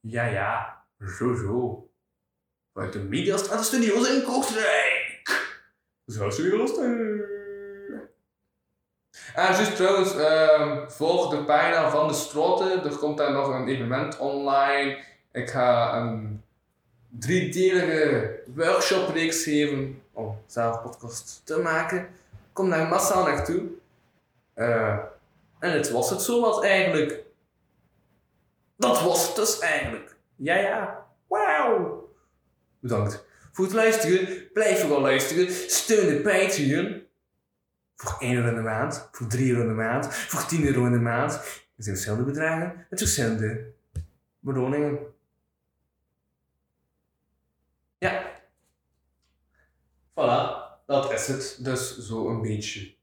[SPEAKER 3] Ja, ja. Zo, zo. Vanuit de Mediastraat Studios in Kortrijk. Zo, zo, lustig. En juist trouwens, ehm, volg de pagina van de Stroten. Er komt daar nog een evenement online. Ik ga een driedelige workshopreeks geven om zelf podcast te maken. Kom daar massaal naartoe. Eh, en dit was het zowat eigenlijk. Dat was het dus eigenlijk. Ja, ja. Wauw. Bedankt voor het luisteren. Blijf vooral luisteren. Steun de Patreon. Voor 1 euro in de maand, voor 3 euro in de maand, voor 10 euro in de maand. Het zijn verschillende bedragen met verschillende beloningen. Ja. Voilà, dat is het. Dus zo een beetje.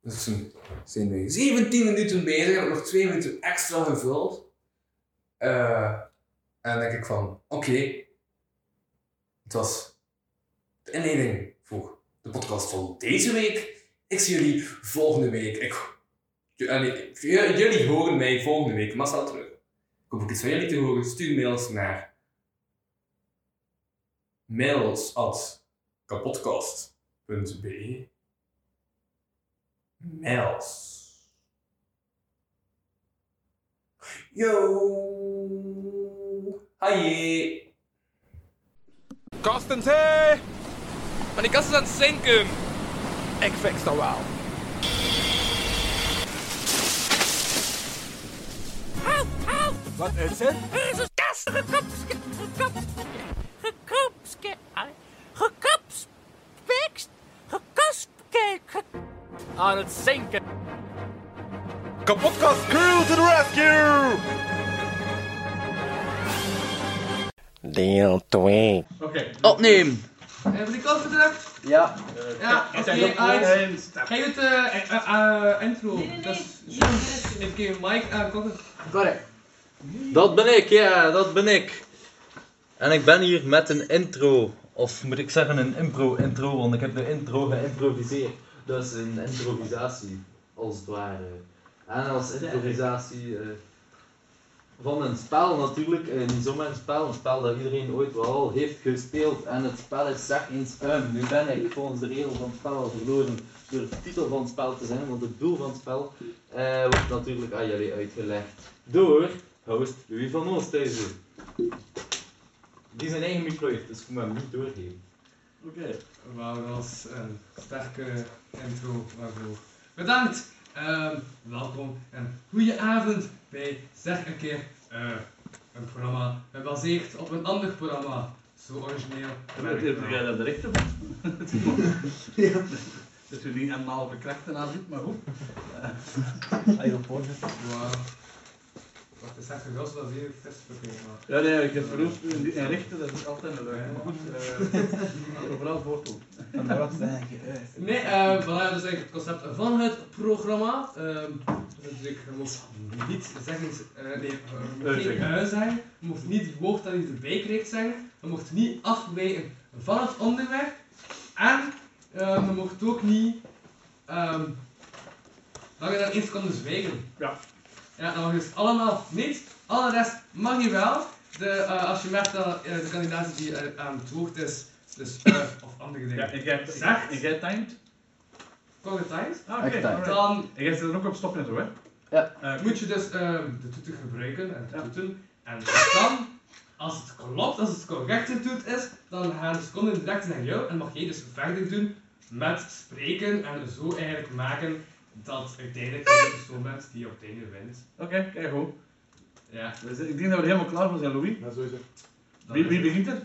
[SPEAKER 3] Dus zijn, zijn we 17 minuten bezig, heb ik nog 2 minuten extra gevuld. Eh, en dan denk ik van, oké, het was de inleiding voor de podcast van deze week. Ik zie jullie volgende week. Ik, j- eh, nee, j- jullie horen mij volgende week massaal terug. Ik hoop ook iets van jullie te horen. Stuur mails naar mails at kapodcast.be Mails. Yo! Hi!
[SPEAKER 5] Kastens, hé! Maar die kast is aan het zinken. Ik fix dat wel. Wat is het?
[SPEAKER 6] is een kast gekopske, gekopske, gekopske, gekopspekst, gekopske, aan het zinken.
[SPEAKER 5] Kapotkast!
[SPEAKER 2] Crew to the rescue!
[SPEAKER 7] Deel 2.
[SPEAKER 8] Opneem.
[SPEAKER 9] Hebben we die kant gedrukt?
[SPEAKER 8] Ja.
[SPEAKER 9] Ja, oké, uit. Ga je het eh, eh, eh, eh, intro? Dus, even kijken, Mike, eh, kokken.
[SPEAKER 8] Correct. Dat ben ik, ja, dat ben ik. En ik ben hier met een intro. Of moet ik zeggen een impro-intro, want ik heb de intro geïmproviseerd. Dus een improvisatie, als het ware. En als improvisatie eh, van een spel natuurlijk, eh, niet zomaar een spel, een spel dat iedereen ooit wel al heeft gespeeld. En het spel is zeg eens um. Nu ben ik volgens de regel van het spel al verloren door de titel van het spel te zijn, want het doel van het spel eh, wordt natuurlijk aan jullie uitgelegd door host Louis van Oosthuizen. Die zijn eigen micro heeft, dus ik moet hem niet doorgeven.
[SPEAKER 3] Wauw, dat was een sterke intro waarvoor.
[SPEAKER 9] Bedankt, ehm, welkom en goedenavond bij Zeg een keer eh, een programma gebaseerd op een ander programma. Zo origineel. ben ik wel.
[SPEAKER 8] de rechter.
[SPEAKER 7] Dat we niet helemaal bekrachten aan zit, maar goed.
[SPEAKER 9] Wow. Wacht, het staat wel zo dat hier het test verkeerd maar.
[SPEAKER 7] Ja, nee, ik heb verroest en richten, dat is altijd een leuke. Maar goed, eh, overal voorkomt.
[SPEAKER 9] Nee, eh vandaar dus eigenlijk het concept van het programma. Ehm dus ik mocht niet zeggen, eh nee, uh,
[SPEAKER 7] Eh,
[SPEAKER 9] geen
[SPEAKER 7] zeggen.
[SPEAKER 9] eh, zeggen. Je mocht niet het woord dat je erbij kreeg zeggen. Je mocht niet afwijken van het onderwerp. En ehm je mocht ook niet ehm langer dan één seconde zwijgen.
[SPEAKER 7] Ja.
[SPEAKER 9] Ja, dat mag dus allemaal niet. Alle rest mag je wel. De, eh, als je merkt dat eh, de kandidaat die eh, aan het woord is, dus eh, of andere dingen.
[SPEAKER 7] Ja, en jij
[SPEAKER 9] Zacht.
[SPEAKER 7] en jij timed?
[SPEAKER 9] Kom het uit.
[SPEAKER 7] Ah, oké.
[SPEAKER 8] Ik timed.
[SPEAKER 7] alright.
[SPEAKER 9] Dan
[SPEAKER 7] En jij zit er ook op stoppen en zo, hè?
[SPEAKER 8] Ja.
[SPEAKER 7] Eh,
[SPEAKER 9] moet je dus ehm, de toeter gebruiken en
[SPEAKER 7] Ja.
[SPEAKER 9] de toeten. En dan, als het klopt, als het correcte toet is, dan gaan de seconden direct naar jou en mag jij dus verder doen met spreken en zo eigenlijk maken dat uiteindelijk jij de persoon bent die op het einde wint.
[SPEAKER 7] Oké, kijk goed.
[SPEAKER 9] Ja,
[SPEAKER 7] We zijn- Ik denk dat we helemaal klaar voor zijn, Louis.
[SPEAKER 2] Ja, sowieso.
[SPEAKER 9] dat
[SPEAKER 7] Wie,
[SPEAKER 9] is-
[SPEAKER 7] wie begint er?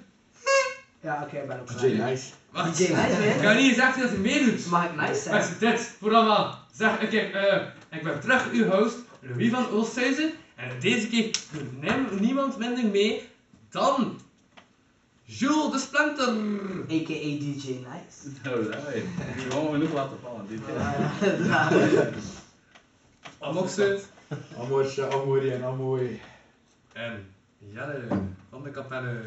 [SPEAKER 4] Ja, oké, ik ben ook klaar.
[SPEAKER 2] nice.
[SPEAKER 9] Wacht,
[SPEAKER 4] DJ Nice,
[SPEAKER 9] ik
[SPEAKER 4] hè?
[SPEAKER 9] kan niet zeggen dat hij meedoet.
[SPEAKER 4] Mag ik nice zijn?
[SPEAKER 9] Mensen, dit voor allemaal. Zeg, ik, heb, eh, ik ben terug uw host, Louis van Oosthuizen. En deze keer doet nem- niemand minder mee dan Jules de Splinter.
[SPEAKER 4] A.k.a. DJ Nice.
[SPEAKER 7] Alright. Die gaan we genoeg laten vallen. Dit keer.
[SPEAKER 4] Ja,
[SPEAKER 9] Amokse.
[SPEAKER 2] Amorje, Amori en Amoi.
[SPEAKER 9] En Jelle van de Kapelle.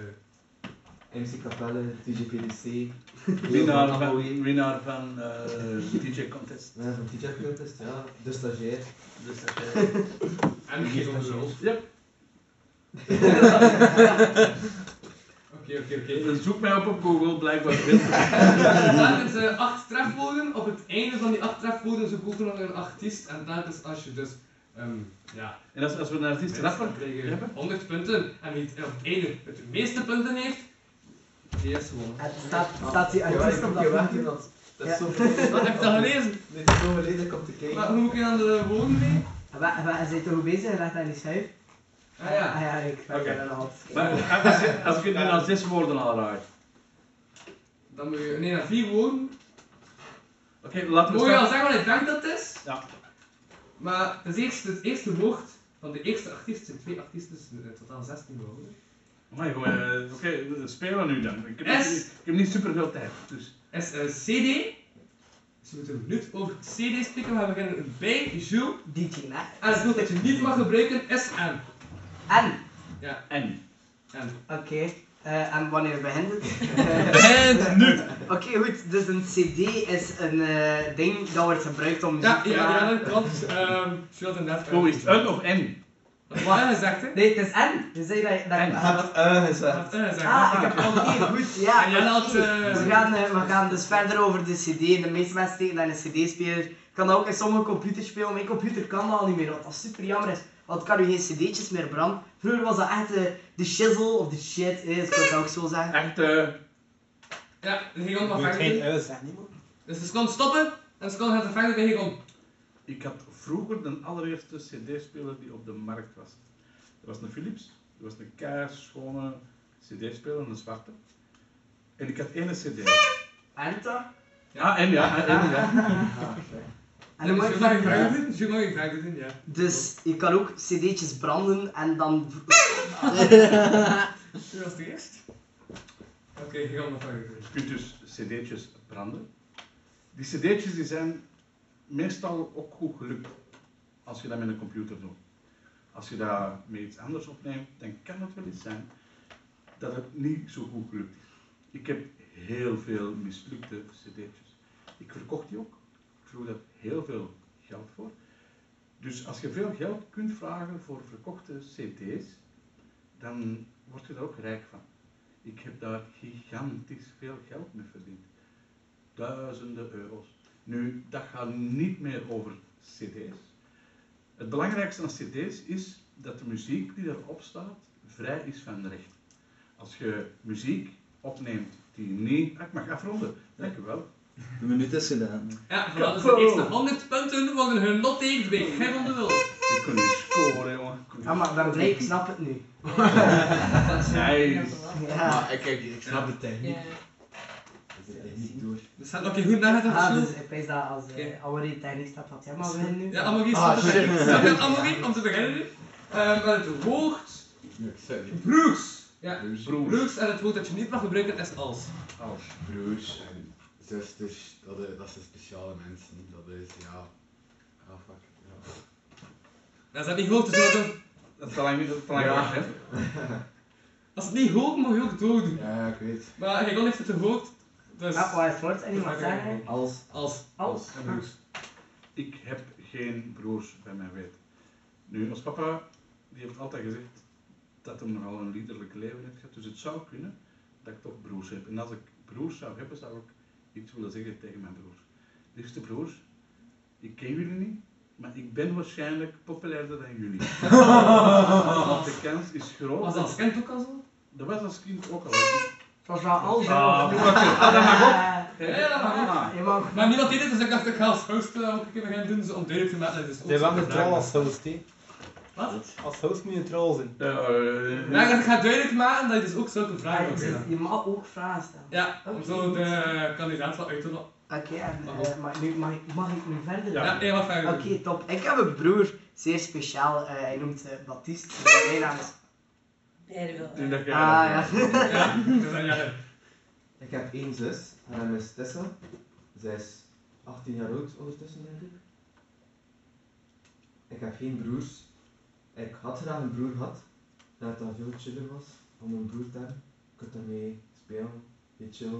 [SPEAKER 10] MC Capelle, DJ PDC.
[SPEAKER 7] Winnaar van, winnaar van eh, DJ Contest.
[SPEAKER 10] Ja, van DJ Contest, ja. De stagiair.
[SPEAKER 7] Dus dat, eh,
[SPEAKER 9] En Geron de Rolf.
[SPEAKER 7] Yep.
[SPEAKER 9] Oké, oké,
[SPEAKER 7] eh,
[SPEAKER 9] oké.
[SPEAKER 7] zoek mij op op Google, blijkbaar veel.
[SPEAKER 9] Telkens eh acht trefwoorden. Op het einde van die acht trefwoorden zoek ook nog een artiest. En telkens als je dus ehm, ja,
[SPEAKER 7] En als, als we een artiest rapper
[SPEAKER 9] krijgen
[SPEAKER 7] hebben?
[SPEAKER 9] 100 punten en wie het- of ene het de meeste punten heeft, die is gewonnen.
[SPEAKER 4] Het staat, staat die artiest op dat
[SPEAKER 10] wacht,
[SPEAKER 4] filmpje?
[SPEAKER 10] dat dat
[SPEAKER 4] Ja.
[SPEAKER 10] is zo verleden.
[SPEAKER 9] Dat heb ik dan gelezen,
[SPEAKER 10] Dit is zo verleden, komt te
[SPEAKER 9] maar
[SPEAKER 10] kijken.
[SPEAKER 9] hoe moet ik aan de woorden mee?
[SPEAKER 4] Wa- wa- Hij zit toch goed bezig? Hij legt aan die schuif.
[SPEAKER 9] Ah ja,
[SPEAKER 4] Ah ja, ik ben
[SPEAKER 7] Oké.
[SPEAKER 4] wel een hand.
[SPEAKER 7] Maar als je- als je nu al zes woorden al raadt.
[SPEAKER 9] dan moet je, nee, naar vier woorden.
[SPEAKER 7] Oké, laten we
[SPEAKER 9] Moet je al
[SPEAKER 7] staan.
[SPEAKER 9] zeggen wat ik denk dat het is?
[SPEAKER 7] Ja.
[SPEAKER 9] Maar het eerste, het eerste woord van de eerste artiest, zijn twee artiesten, dus in totaal 16 woorden.
[SPEAKER 7] Amai, goh, eh, Oké, we spelen nu dan. Ik heb,
[SPEAKER 9] Yes.
[SPEAKER 7] niet, ik heb niet super veel tijd. Dus.
[SPEAKER 9] Is een CD. Dus we moeten een minuut over CD spreken, we beginnen bij Jules.
[SPEAKER 4] DJ Nice.
[SPEAKER 9] En het woord dat je niet mag gebruiken is en.
[SPEAKER 4] En,
[SPEAKER 7] En.
[SPEAKER 9] En.
[SPEAKER 4] oké. eh, en wanneer begint het?
[SPEAKER 8] Begint nu!
[SPEAKER 4] Oké, goed. Dus een cd is een eh, ding dat wordt gebruikt om muziek
[SPEAKER 9] Ja,
[SPEAKER 4] te
[SPEAKER 9] ja,
[SPEAKER 4] maken.
[SPEAKER 9] ja, klopt. Ehm, Jules en net.
[SPEAKER 7] Hoe is het? Een of en?
[SPEAKER 9] Dat was wel gezegd, hè?
[SPEAKER 4] Nee, het is en. Je zei dat... dat
[SPEAKER 7] En.
[SPEAKER 10] Hij had eh gezegd.
[SPEAKER 9] Dat is
[SPEAKER 4] Ah, ik heb oké, goed. Ja,
[SPEAKER 9] En jij
[SPEAKER 4] oké.
[SPEAKER 9] had, eh,
[SPEAKER 4] we, gaan, eh, we gaan dus verder over de cd. De meeste mensen steken naar een cd-speler. Kan dat ook in sommige computers spelen. Mijn computer kan dat al niet meer, wat dat super jammer is. Want kan u geen cd'tjes meer branden. Vroeger was dat echt eh, de shizzle of de shit, eh, ik kan dat ook zo zeggen.
[SPEAKER 7] Echt, eh,
[SPEAKER 9] Ja, de Hegon mag vechten. Dus ze kon stoppen en ze kon gaan vechten bij Hegon.
[SPEAKER 7] ik had vroeger de allereerste cd-speler die op de markt was. Dat was een Philips. Dat was een kaarschone cd-speler, een zwarte. En ik had één cd.
[SPEAKER 4] En toch?
[SPEAKER 7] Ja, en ja, en, en ja.
[SPEAKER 4] En dan moet
[SPEAKER 9] Jules
[SPEAKER 4] je
[SPEAKER 9] mag je vechten doen, Jules mag je vechten doen, ja.
[SPEAKER 4] Dus je kan ook cd'tjes branden en dan...
[SPEAKER 9] Jules was de eerst. Oké, Hegon mag vechten doen.
[SPEAKER 7] Je kunt dus cd'tjes branden. Die cd'tjes die zijn meestal ook goed gelukt als je dat met een computer doet. Als je dat met iets anders opneemt, dan kan het wel eens zijn dat het niet zo goed gelukt is. Ik heb heel veel mislukte cd'tjes. Ik verkocht die ook. Ik vroeg daar heel veel geld voor. Dus als je veel geld kunt vragen voor verkochte cd's, dan word je daar ook rijk van. Ik heb daar gigantisch veel geld mee verdiend. Duizenden euro's. Nu, dat gaat niet meer over cd's. Het belangrijkste aan cd's is dat de muziek die erop staat vrij is van recht. Als je muziek opneemt die niet... Ah, ik mag afronden. Dank u wel.
[SPEAKER 8] De minuut is gedaan.
[SPEAKER 9] Ja, voilà, dus de eerste 100 punten worden genoteerd bij Hegon de Wulf.
[SPEAKER 7] Ik kon niet scoren, jongen. Ik kon niet
[SPEAKER 4] Ja, maar ik ben blij, ik snap het nu.
[SPEAKER 7] Nice.
[SPEAKER 4] Ja.
[SPEAKER 10] ik, ik, ik snap de techniek.
[SPEAKER 11] de techniek door.
[SPEAKER 9] Dus had nog een goed nagedacht,
[SPEAKER 4] Ah,
[SPEAKER 9] Sjoel?
[SPEAKER 4] dus ik weet dat als eh Amory techniek staat, dat jij maar winnen nu.
[SPEAKER 9] Ja, Amory is
[SPEAKER 4] Ah,
[SPEAKER 9] te
[SPEAKER 4] shit.
[SPEAKER 9] beginnen. Ja, ja, Amory, om te beginnen nu. Eh, met het woord broers. Ja, broers. En het woord dat je niet mag gebruiken is als.
[SPEAKER 7] Oh,
[SPEAKER 12] Als broers en zusters, dat, eh, dat zijn speciale mensen. Dat is, ja... Ah, fuck. Ja.
[SPEAKER 9] Dat is dat niet goed, dus dat doen.
[SPEAKER 7] Dat is al lang niet, dat is al lang
[SPEAKER 9] Ja.
[SPEAKER 7] weg, hè.
[SPEAKER 9] Als het niet hoort, moet je ook doordoen.
[SPEAKER 12] Ja, ik weet.
[SPEAKER 9] Maar jij kon heeft het gehoord. Dus...
[SPEAKER 4] Ja, wat is het woord? En die mag zeggen?
[SPEAKER 7] Als.
[SPEAKER 9] Als.
[SPEAKER 4] Als.
[SPEAKER 7] En broers. Ik heb geen broers bij mijn weet. Nu, ons papa, die heeft altijd gezegd dat hij nogal een liederlijk leven heeft gehad. Dus het zou kunnen dat ik toch broers heb. En als ik broers zou hebben, zou ik iets willen zeggen tegen mijn broers. Liefste broers, ik ken jullie niet, maar ik ben waarschijnlijk populairder dan jullie. Want de kans is groot.
[SPEAKER 9] Was dat als kind ook al zo?
[SPEAKER 7] Dat was als kind ook al. zo.
[SPEAKER 4] Dat was wel al zo.
[SPEAKER 7] Ah, doe maar, Phil. Ah, dat mag ook.
[SPEAKER 9] Ja, ja, dat mag ook.
[SPEAKER 4] Je mag-
[SPEAKER 9] Maar niemand deed het, dus ik dacht ik ga als host eh, ook een keer beginnen doen, dus om duidelijk te maken. dat het Dus
[SPEAKER 13] Zij wel een troll als
[SPEAKER 9] host.
[SPEAKER 13] host, hè?
[SPEAKER 9] Wat?
[SPEAKER 13] Als host moet je een troll zijn.
[SPEAKER 9] Maar ik dacht, ik ga duidelijk maken dat je dus ook zulke vragen
[SPEAKER 4] Dus
[SPEAKER 9] mag stellen.
[SPEAKER 4] Je mag ook vragen stellen.
[SPEAKER 9] Ja, om zo de kandidaat wat uit te lokken.
[SPEAKER 4] Oké, en, eh, maar nu mag, ik- mag ik nu verder?
[SPEAKER 9] Ja,
[SPEAKER 4] doen?
[SPEAKER 9] jij mag verder
[SPEAKER 4] Oké, top. Ik heb een broer, zeer speciaal. eh, hij noemt eh Baptiste. Mijn naam is...
[SPEAKER 7] Nu dat
[SPEAKER 4] Ah,
[SPEAKER 7] jij
[SPEAKER 4] ja.
[SPEAKER 11] dat doet. Ja,
[SPEAKER 9] dus dan jij.
[SPEAKER 11] Ik heb één zus, haar naam is Tessa. Zij is 18 jaar oud ondertussen, denk ik. Ik heb geen broers. Ik had graag een broer gehad, dat dat veel chiller was om een broer te hebben. Je kunt ermee spelen, je chill,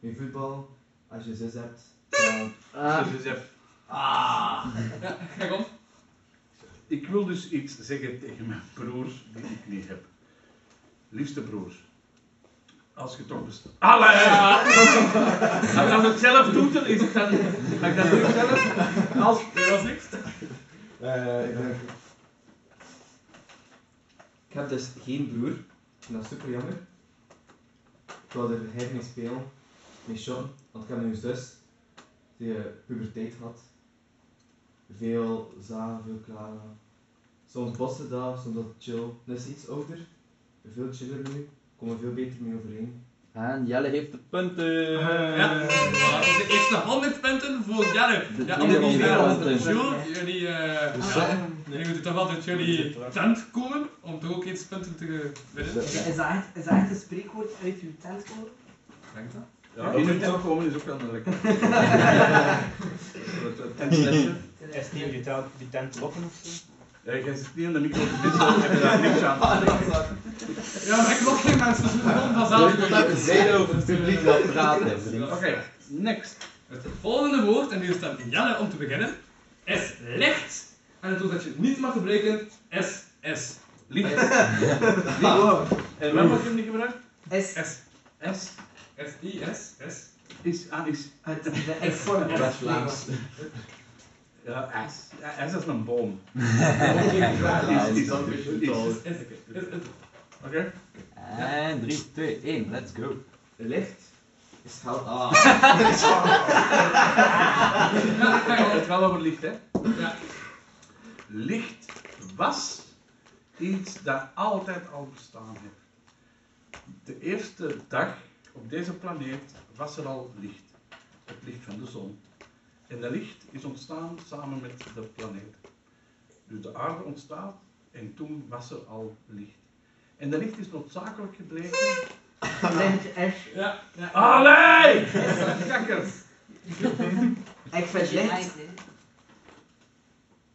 [SPEAKER 11] mee voetbal. Als je zus hebt, dan...
[SPEAKER 7] Als je zus hebt.
[SPEAKER 11] Ah!
[SPEAKER 9] Ja, kijk op.
[SPEAKER 7] Ik wil dus iets zeggen tegen mijn broers die ik niet heb. Liefste broers, als je toch bestaat. Alle! Ga ik dat ook zelf doen? dan Is het dan... Ga ik dat ook zelf? Als... Dat was niks.
[SPEAKER 11] Eh, ik denk- Ik heb dus geen broer. En dat is super jammer. Ik wou er heel mee spelen. Met Sean. Want ik heb een zus. Die eh, puberteit had. Veel zagen, veel klagen. Soms botsen daar, soms dat chill. Dat is iets ouder. Veel chiller nu. Komen veel beter mee overeen.
[SPEAKER 8] En Jelle heeft de punten.
[SPEAKER 9] Ja, voilà, dus de eerste 100 punten voor Jelle. Ja,
[SPEAKER 8] tweede
[SPEAKER 9] Annemie,
[SPEAKER 8] ronde
[SPEAKER 9] eh,
[SPEAKER 8] punten.
[SPEAKER 9] Jules, jullie, eh,
[SPEAKER 8] Dus
[SPEAKER 9] ja,
[SPEAKER 8] dat-
[SPEAKER 9] jullie moeten toch wel uit jullie tent komen om toch ook iets punten te winnen.
[SPEAKER 4] Is dat, echt, is dat echt een spreekwoord uit uw tent komen?
[SPEAKER 9] Denk dat?
[SPEAKER 7] Ja, in het tent komen is ook wel een lekker.
[SPEAKER 13] Is die die tent, die tent lokken of zo?
[SPEAKER 7] Ja, jij zit niet aan de micro, mensen hebben daar niks aan.
[SPEAKER 9] Ja, maar ik lok geen mensen, dus het komt vanzelf.
[SPEAKER 7] Dus dat is zeer over het publiek dat praat, hè, vriend.
[SPEAKER 9] Ja.
[SPEAKER 7] Oké, next.
[SPEAKER 9] Het volgende woord, en hier staat Jelle om te beginnen, is licht. En het woord dat je niet mag gebruiken is is.
[SPEAKER 7] Licht.
[SPEAKER 9] En
[SPEAKER 7] En
[SPEAKER 9] wat
[SPEAKER 7] waar
[SPEAKER 9] mag
[SPEAKER 7] wordt hem niet gebruikt?
[SPEAKER 4] S.
[SPEAKER 9] S. S. S. I. S. S.
[SPEAKER 7] Is, ah, is.
[SPEAKER 4] Ik vorm
[SPEAKER 7] Dat is Vlaams. Ja, S. Ja, S is een boom. Ja, is, is, is, is. Oké.
[SPEAKER 8] En 3, 2, 1, let's go.
[SPEAKER 11] Licht is hel. Ah.
[SPEAKER 7] Het gaat over licht, hè?
[SPEAKER 9] Ja.
[SPEAKER 7] Licht was iets dat altijd al bestaan heeft. De eerste dag op deze planeet was er al licht. Het licht van de zon. En dat licht is ontstaan samen met de planeet. Dus de aarde ontstaat en toen was er al licht. En dat licht is noodzakelijk gebleken.
[SPEAKER 9] Ja. ja. ah,
[SPEAKER 7] Allee! Kakkers!
[SPEAKER 4] Ik vind
[SPEAKER 7] Je
[SPEAKER 4] licht...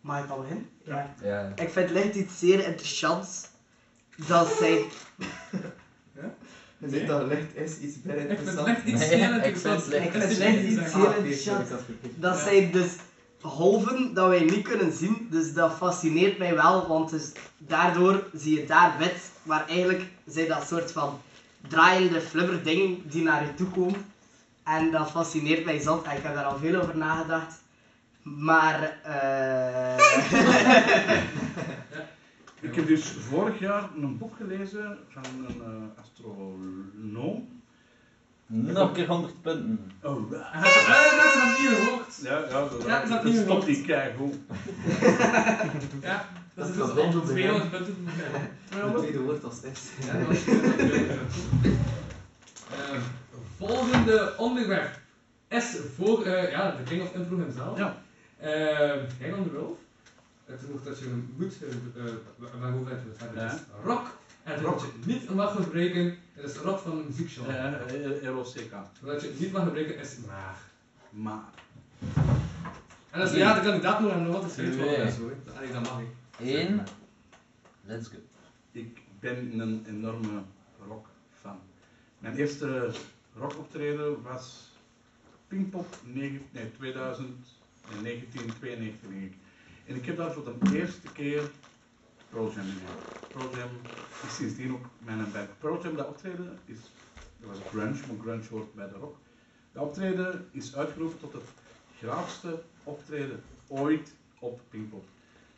[SPEAKER 4] Mag ik al beginnen? Ja.
[SPEAKER 8] Ja.
[SPEAKER 4] Ik vind licht iets zeer interessants. Dat zij...
[SPEAKER 11] Je zegt dat licht is iets bij
[SPEAKER 4] Ik vind
[SPEAKER 11] interessant.
[SPEAKER 4] licht iets Nee, heel ik vind interessant. licht-
[SPEAKER 11] Ik
[SPEAKER 4] ik vind
[SPEAKER 11] vind
[SPEAKER 4] licht iets heel
[SPEAKER 11] Ah, oké, sorry,
[SPEAKER 4] interessant.
[SPEAKER 11] ik had verkeerd.
[SPEAKER 4] Dat
[SPEAKER 11] Ja.
[SPEAKER 4] zijn dus golven dat wij niet kunnen zien. Dus dat fascineert mij wel, want dus daardoor zie je daar wit. Maar eigenlijk zijn dat soort van draaiende flibberdingen die naar je toe komen. En dat fascineert mij zot. En ik heb daar al veel over nagedacht. Maar... eh
[SPEAKER 7] Ik heb dus vorig jaar een boek gelezen van een eh, astronoom.
[SPEAKER 8] Nog een keer 100 punten.
[SPEAKER 7] Oh,
[SPEAKER 9] Eh, dat is dat niet gehoord.
[SPEAKER 7] Ja, ja, dat,
[SPEAKER 9] Ja, dat is dat niet
[SPEAKER 7] stopt
[SPEAKER 9] gehoord.
[SPEAKER 7] die keigoed.
[SPEAKER 9] Ja, dat is
[SPEAKER 11] Dat kan
[SPEAKER 9] dus
[SPEAKER 11] wel
[SPEAKER 9] al
[SPEAKER 11] doen, hè.
[SPEAKER 9] 200 punten. Ja.
[SPEAKER 11] Het tweede woord als S.
[SPEAKER 9] Ja, dat was- dat was- Eh, volgende onderwerp is voor eh, ja, de King of Impro hemzelf. Eh, Ja. King on the Wolf. Het vermoed dat je hem moet, eh, eh, waarover het moet hebben, is rock. En dat je het niet mag gebruiken, dat is rock van een muziekgenre.
[SPEAKER 7] eh, ROCK.
[SPEAKER 9] Wat je niet mag gebruiken is maar.
[SPEAKER 7] Maar.
[SPEAKER 9] En dat is, ja, de kandidaat moet nog wat gezegd worden.
[SPEAKER 7] Twee.
[SPEAKER 9] en zo, hè. Allee, dat mag ik.
[SPEAKER 7] Eén. Let's go. Ik ben een enorme rockfan. Mijn eerste rockoptreden was Pinkpop negen- nee, 2000 en 1992. denk ik. En ik heb daar voor de eerste keer Pearl Jam in gehad. Pearl Jam is sindsdien ook mijn band. Pearl Jam, dat optreden is, dat was grunge, maar grunge hoort bij de rock. Dat optreden is uitgeroepen tot het graafste optreden ooit op Pinkpop.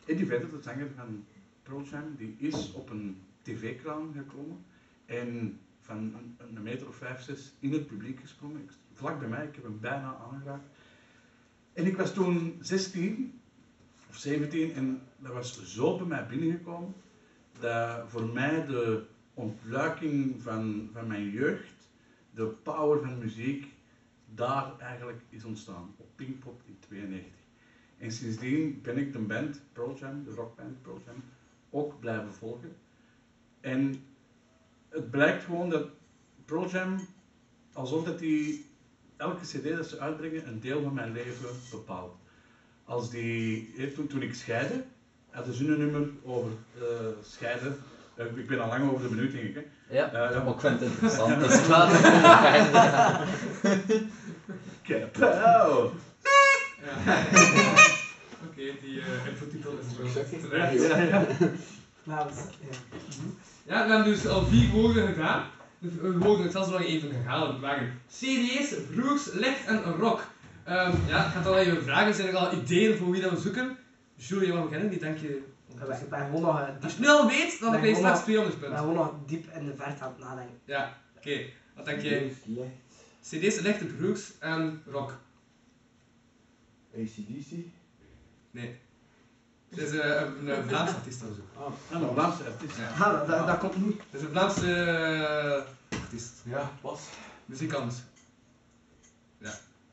[SPEAKER 7] Eddie Vedder, de zanger van Pearl Jam, die is op een tv-kraan gekomen en van een, een meter of vijf, zes in het publiek gesprongen. Ik- Vlak bij mij, ik heb hem bijna aangeraakt. En ik was toen 16 of 17 en dat was zo bij mij binnengekomen dat voor mij de ontluiking van, van mijn jeugd, de power van muziek, daar eigenlijk is ontstaan, op Pinkpop in 92. En sindsdien ben ik de band Pearl Jam, de rockband Pearl Jam, ook blijven volgen. En het blijkt gewoon dat Pearl Jam, alsof dat die elke cd dat ze uitbrengen, een deel van mijn leven bepaalt. Als die, eh, toen, toen ik scheidde, hadden ze een nummer over eh, scheiden. Eh, ik ben al lang over de minuut, denk ik. Hè?
[SPEAKER 8] Ja,
[SPEAKER 7] Eh,
[SPEAKER 8] maar ik vind het interessant, dus ik laat het gewoon gaan.
[SPEAKER 7] Kapow!
[SPEAKER 9] Oké, die uh, infotitel is wel
[SPEAKER 7] niet.
[SPEAKER 9] terecht.
[SPEAKER 7] Ja, ja.
[SPEAKER 9] Ja, we hebben dus al vier woorden gedaan. Dus We woorden het zelfs nog even herhalen. Het waren CD's, broers, licht en rock. Ehm, ja, ik ga het al even vragen. Zijn er al ideeën voor wie dat we zoeken? Julie, wat we kennen, die denk je...
[SPEAKER 14] Ik ben gewoon nog... eh, diep-
[SPEAKER 9] Als je nu al weet, dan
[SPEAKER 14] ben
[SPEAKER 9] heb je
[SPEAKER 14] gewoon nog-
[SPEAKER 9] straks 200
[SPEAKER 14] Ik ben
[SPEAKER 9] punten.
[SPEAKER 14] gewoon nog diep in de verte aan het nadenken.
[SPEAKER 9] Ja, oké. Wat denk jij? CD's, lichte broers en rock.
[SPEAKER 15] ACDC?
[SPEAKER 9] Nee. Het is eh, een, een Vlaamse artiest dat we zoeken.
[SPEAKER 7] Ah, een Vlaamse artiest.
[SPEAKER 14] Ah, dat, dat komt niet.
[SPEAKER 9] Het is een Vlaamse eh, artiest.
[SPEAKER 10] Ja, pas.
[SPEAKER 9] Muzikant. Ja.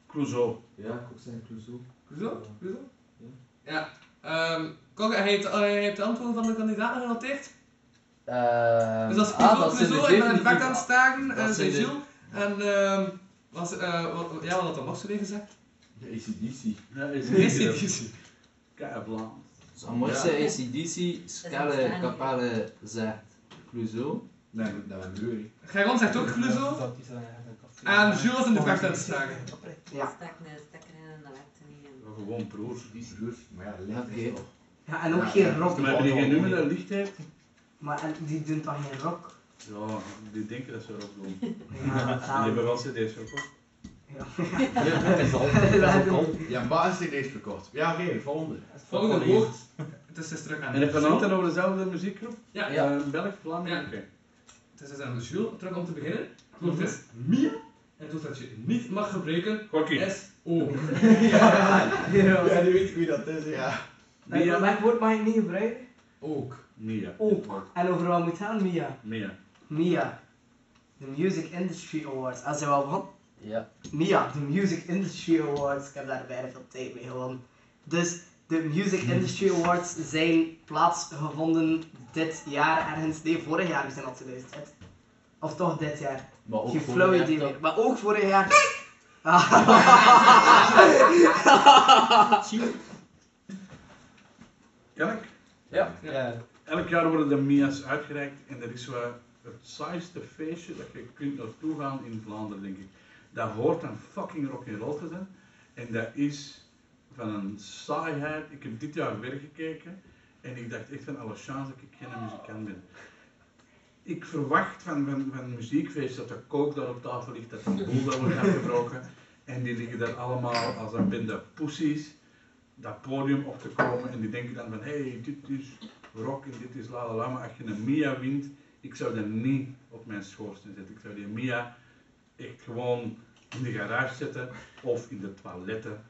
[SPEAKER 7] Clouseau.
[SPEAKER 10] Ja, ik ook zijn Clouseau.
[SPEAKER 9] Hoezo? Hoezo? Ja. Ehm Kokke, hij heeft, hij heeft de antwoorden van de kandidaten genoteerd.
[SPEAKER 8] Ehm,
[SPEAKER 9] dus dat is
[SPEAKER 8] ah,
[SPEAKER 9] Clouseau,
[SPEAKER 8] zijn de
[SPEAKER 9] Clouseau, ik ben aan de bek
[SPEAKER 8] definitieve-
[SPEAKER 9] aan het staken,
[SPEAKER 8] dat
[SPEAKER 9] eh,
[SPEAKER 8] zijn
[SPEAKER 9] zijn
[SPEAKER 8] de-
[SPEAKER 9] Jules. En ehm was, eh wat, ja, wat had dan nog zo weer gezegd?
[SPEAKER 15] ACDC.
[SPEAKER 7] Ja,
[SPEAKER 9] ACDC.
[SPEAKER 7] Keiblaan.
[SPEAKER 8] Amorse ACDC, Scale Capale zegt Clouseau.
[SPEAKER 15] Nee, dat ben Murray.
[SPEAKER 9] Geron zegt ook Clouseau. En Jules was in de bek aan het staken.
[SPEAKER 14] Ja.
[SPEAKER 16] Stak een stekker in en dat werkte niet. En...
[SPEAKER 7] Gewoon broers.
[SPEAKER 15] Die broers, maar ja, licht is toch.
[SPEAKER 14] Ja, en ook geen rock.
[SPEAKER 7] Maar hebben die geen nummer dat licht heeft?
[SPEAKER 14] Maar en, die doen toch geen rock?
[SPEAKER 7] Ja, die denken dat ze erop doen.
[SPEAKER 14] Ja,
[SPEAKER 7] En die hebben wel cd's verkocht.
[SPEAKER 14] Ja.
[SPEAKER 15] Ja, maar is deze verkocht. Ja, oké, volgende.
[SPEAKER 9] Volgende woord. Het is dus terug aan
[SPEAKER 7] En heb je het altijd over dezelfde muziekgroep?
[SPEAKER 9] Ja.
[SPEAKER 7] Eh, Belg, Vlaam,
[SPEAKER 9] Ja.
[SPEAKER 7] oké.
[SPEAKER 9] Het is dus aan Jules, terug om te beginnen. Het woord is Mia. En het woord dat je niet mag gebruiken is O.
[SPEAKER 15] Ja, ja, nu weet ik wie dat is, ja.
[SPEAKER 14] Mia. Welk woord mag je niet gebruiken?
[SPEAKER 9] Ook.
[SPEAKER 7] Mia.
[SPEAKER 14] Ook. En over wat moet het gaan, Mia?
[SPEAKER 7] Mia.
[SPEAKER 14] Mia. De Music Industry Awards. Als je wel van.
[SPEAKER 8] Ja.
[SPEAKER 14] Mia, de Music Industry Awards. Ik heb daar bijna veel tijd mee gewonnen. Dus de Music Industry Awards zijn plaatsgevonden dit jaar ergens. Nee, vorig jaar zijn dat ze dus. Het- Of toch dit jaar.
[SPEAKER 8] Maar ook
[SPEAKER 14] Geen
[SPEAKER 8] vorig
[SPEAKER 14] flauw
[SPEAKER 8] jaar
[SPEAKER 14] idee
[SPEAKER 8] toch?
[SPEAKER 14] meer. Maar ook vorig jaar. Ah,
[SPEAKER 7] Kan ik?
[SPEAKER 8] Ja.
[SPEAKER 7] Elk jaar worden de Mia's uitgereikt en dat is wel het saaiste feestje dat je kunt naartoe gaan in Vlaanderen, denk ik. Dat hoort aan fucking rock'n'roll te zijn en dat is van een saaiheid. Ik heb dit jaar weer gekeken en ik dacht echt van alle chance dat ik geen muzikant ben. Ik verwacht van, van, van een muziekfeest dat de kook daar op tafel ligt, dat de boel daar wordt afgebroken en die liggen daar allemaal als een bende poesies dat podium op te komen en die denken dan van hé, hey, dit is rock en dit is la la la, maar als je een Mia wint, ik zou dat niet op mijn schoorsteen zetten. Ik zou die Mia echt gewoon in de garage zetten of in de toiletten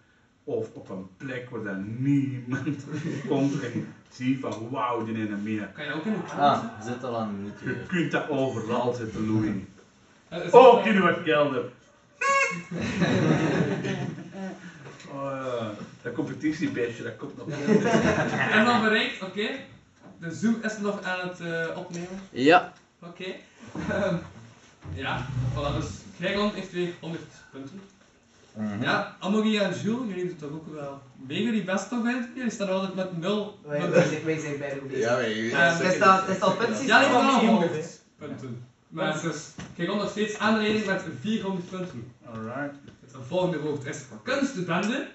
[SPEAKER 7] of op een plek waar dan niemand komt en zie van wauw, die ene Mia.
[SPEAKER 9] Kan je ook in de
[SPEAKER 8] Ah, zit al aan de minuut.
[SPEAKER 7] Je kunt dat overal zetten, Louis.
[SPEAKER 9] Eh, is dat-
[SPEAKER 7] Ook in wat kelder. Oh, ja. Dat competitiebeestje, dat komt nog.
[SPEAKER 9] En dan bereikt, oké. De Zoom is nog aan het eh, opnemen.
[SPEAKER 8] Ja.
[SPEAKER 9] Oké. Ehm, ja, voilà, dus Grijgland heeft weer 100 punten.
[SPEAKER 8] Mhm.
[SPEAKER 9] Ja, Amogi en Jules, jullie doen het toch ook wel mega die best toch uit? Jullie staan altijd met 0.
[SPEAKER 14] Wij- wij zijn- wij zijn bijna goed bezig. Ja, wij- wij
[SPEAKER 9] Ehm,
[SPEAKER 14] zijn- is dat- is dat punten?
[SPEAKER 9] Ja, nee,
[SPEAKER 14] Ja,
[SPEAKER 9] maar
[SPEAKER 14] misschien
[SPEAKER 9] 100 punten. Maar dus, Grijgland nog steeds aan de leiding met 400 punten.
[SPEAKER 7] Alright.
[SPEAKER 9] Het volgende woord is kunstbende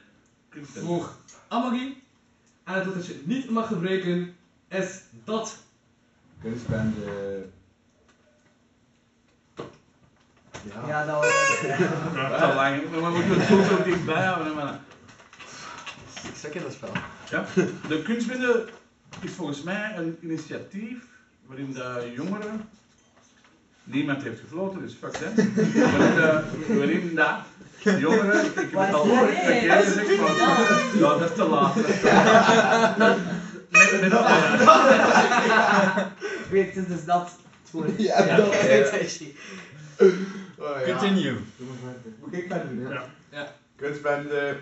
[SPEAKER 9] voor Amogi. En het woord dat je niet mag gebruiken is dat.
[SPEAKER 15] Kunstbende. Ja.
[SPEAKER 14] Ja, dat was...
[SPEAKER 7] Dat is al lang. Maar we moeten het goed ook dichtbij houden, mannen. Ik
[SPEAKER 15] zeg in dat spel.
[SPEAKER 7] Ja. De kunstbende is volgens mij een initiatief waarin de jongeren. Niemand heeft gefloten, dus fuck them. waarin de, waarin de jongeren. Ik heb het al ooit verkeerd gezegd, maar. Ja, dat is te laat. Dat is te laat. Met- met-
[SPEAKER 14] Weet het dus dat. het woord.
[SPEAKER 7] Ja, dat-
[SPEAKER 15] Continue.
[SPEAKER 10] Doe maar verder.
[SPEAKER 15] Oh, Moet ik verder doen?
[SPEAKER 9] Ja. ja.
[SPEAKER 15] Kunstbende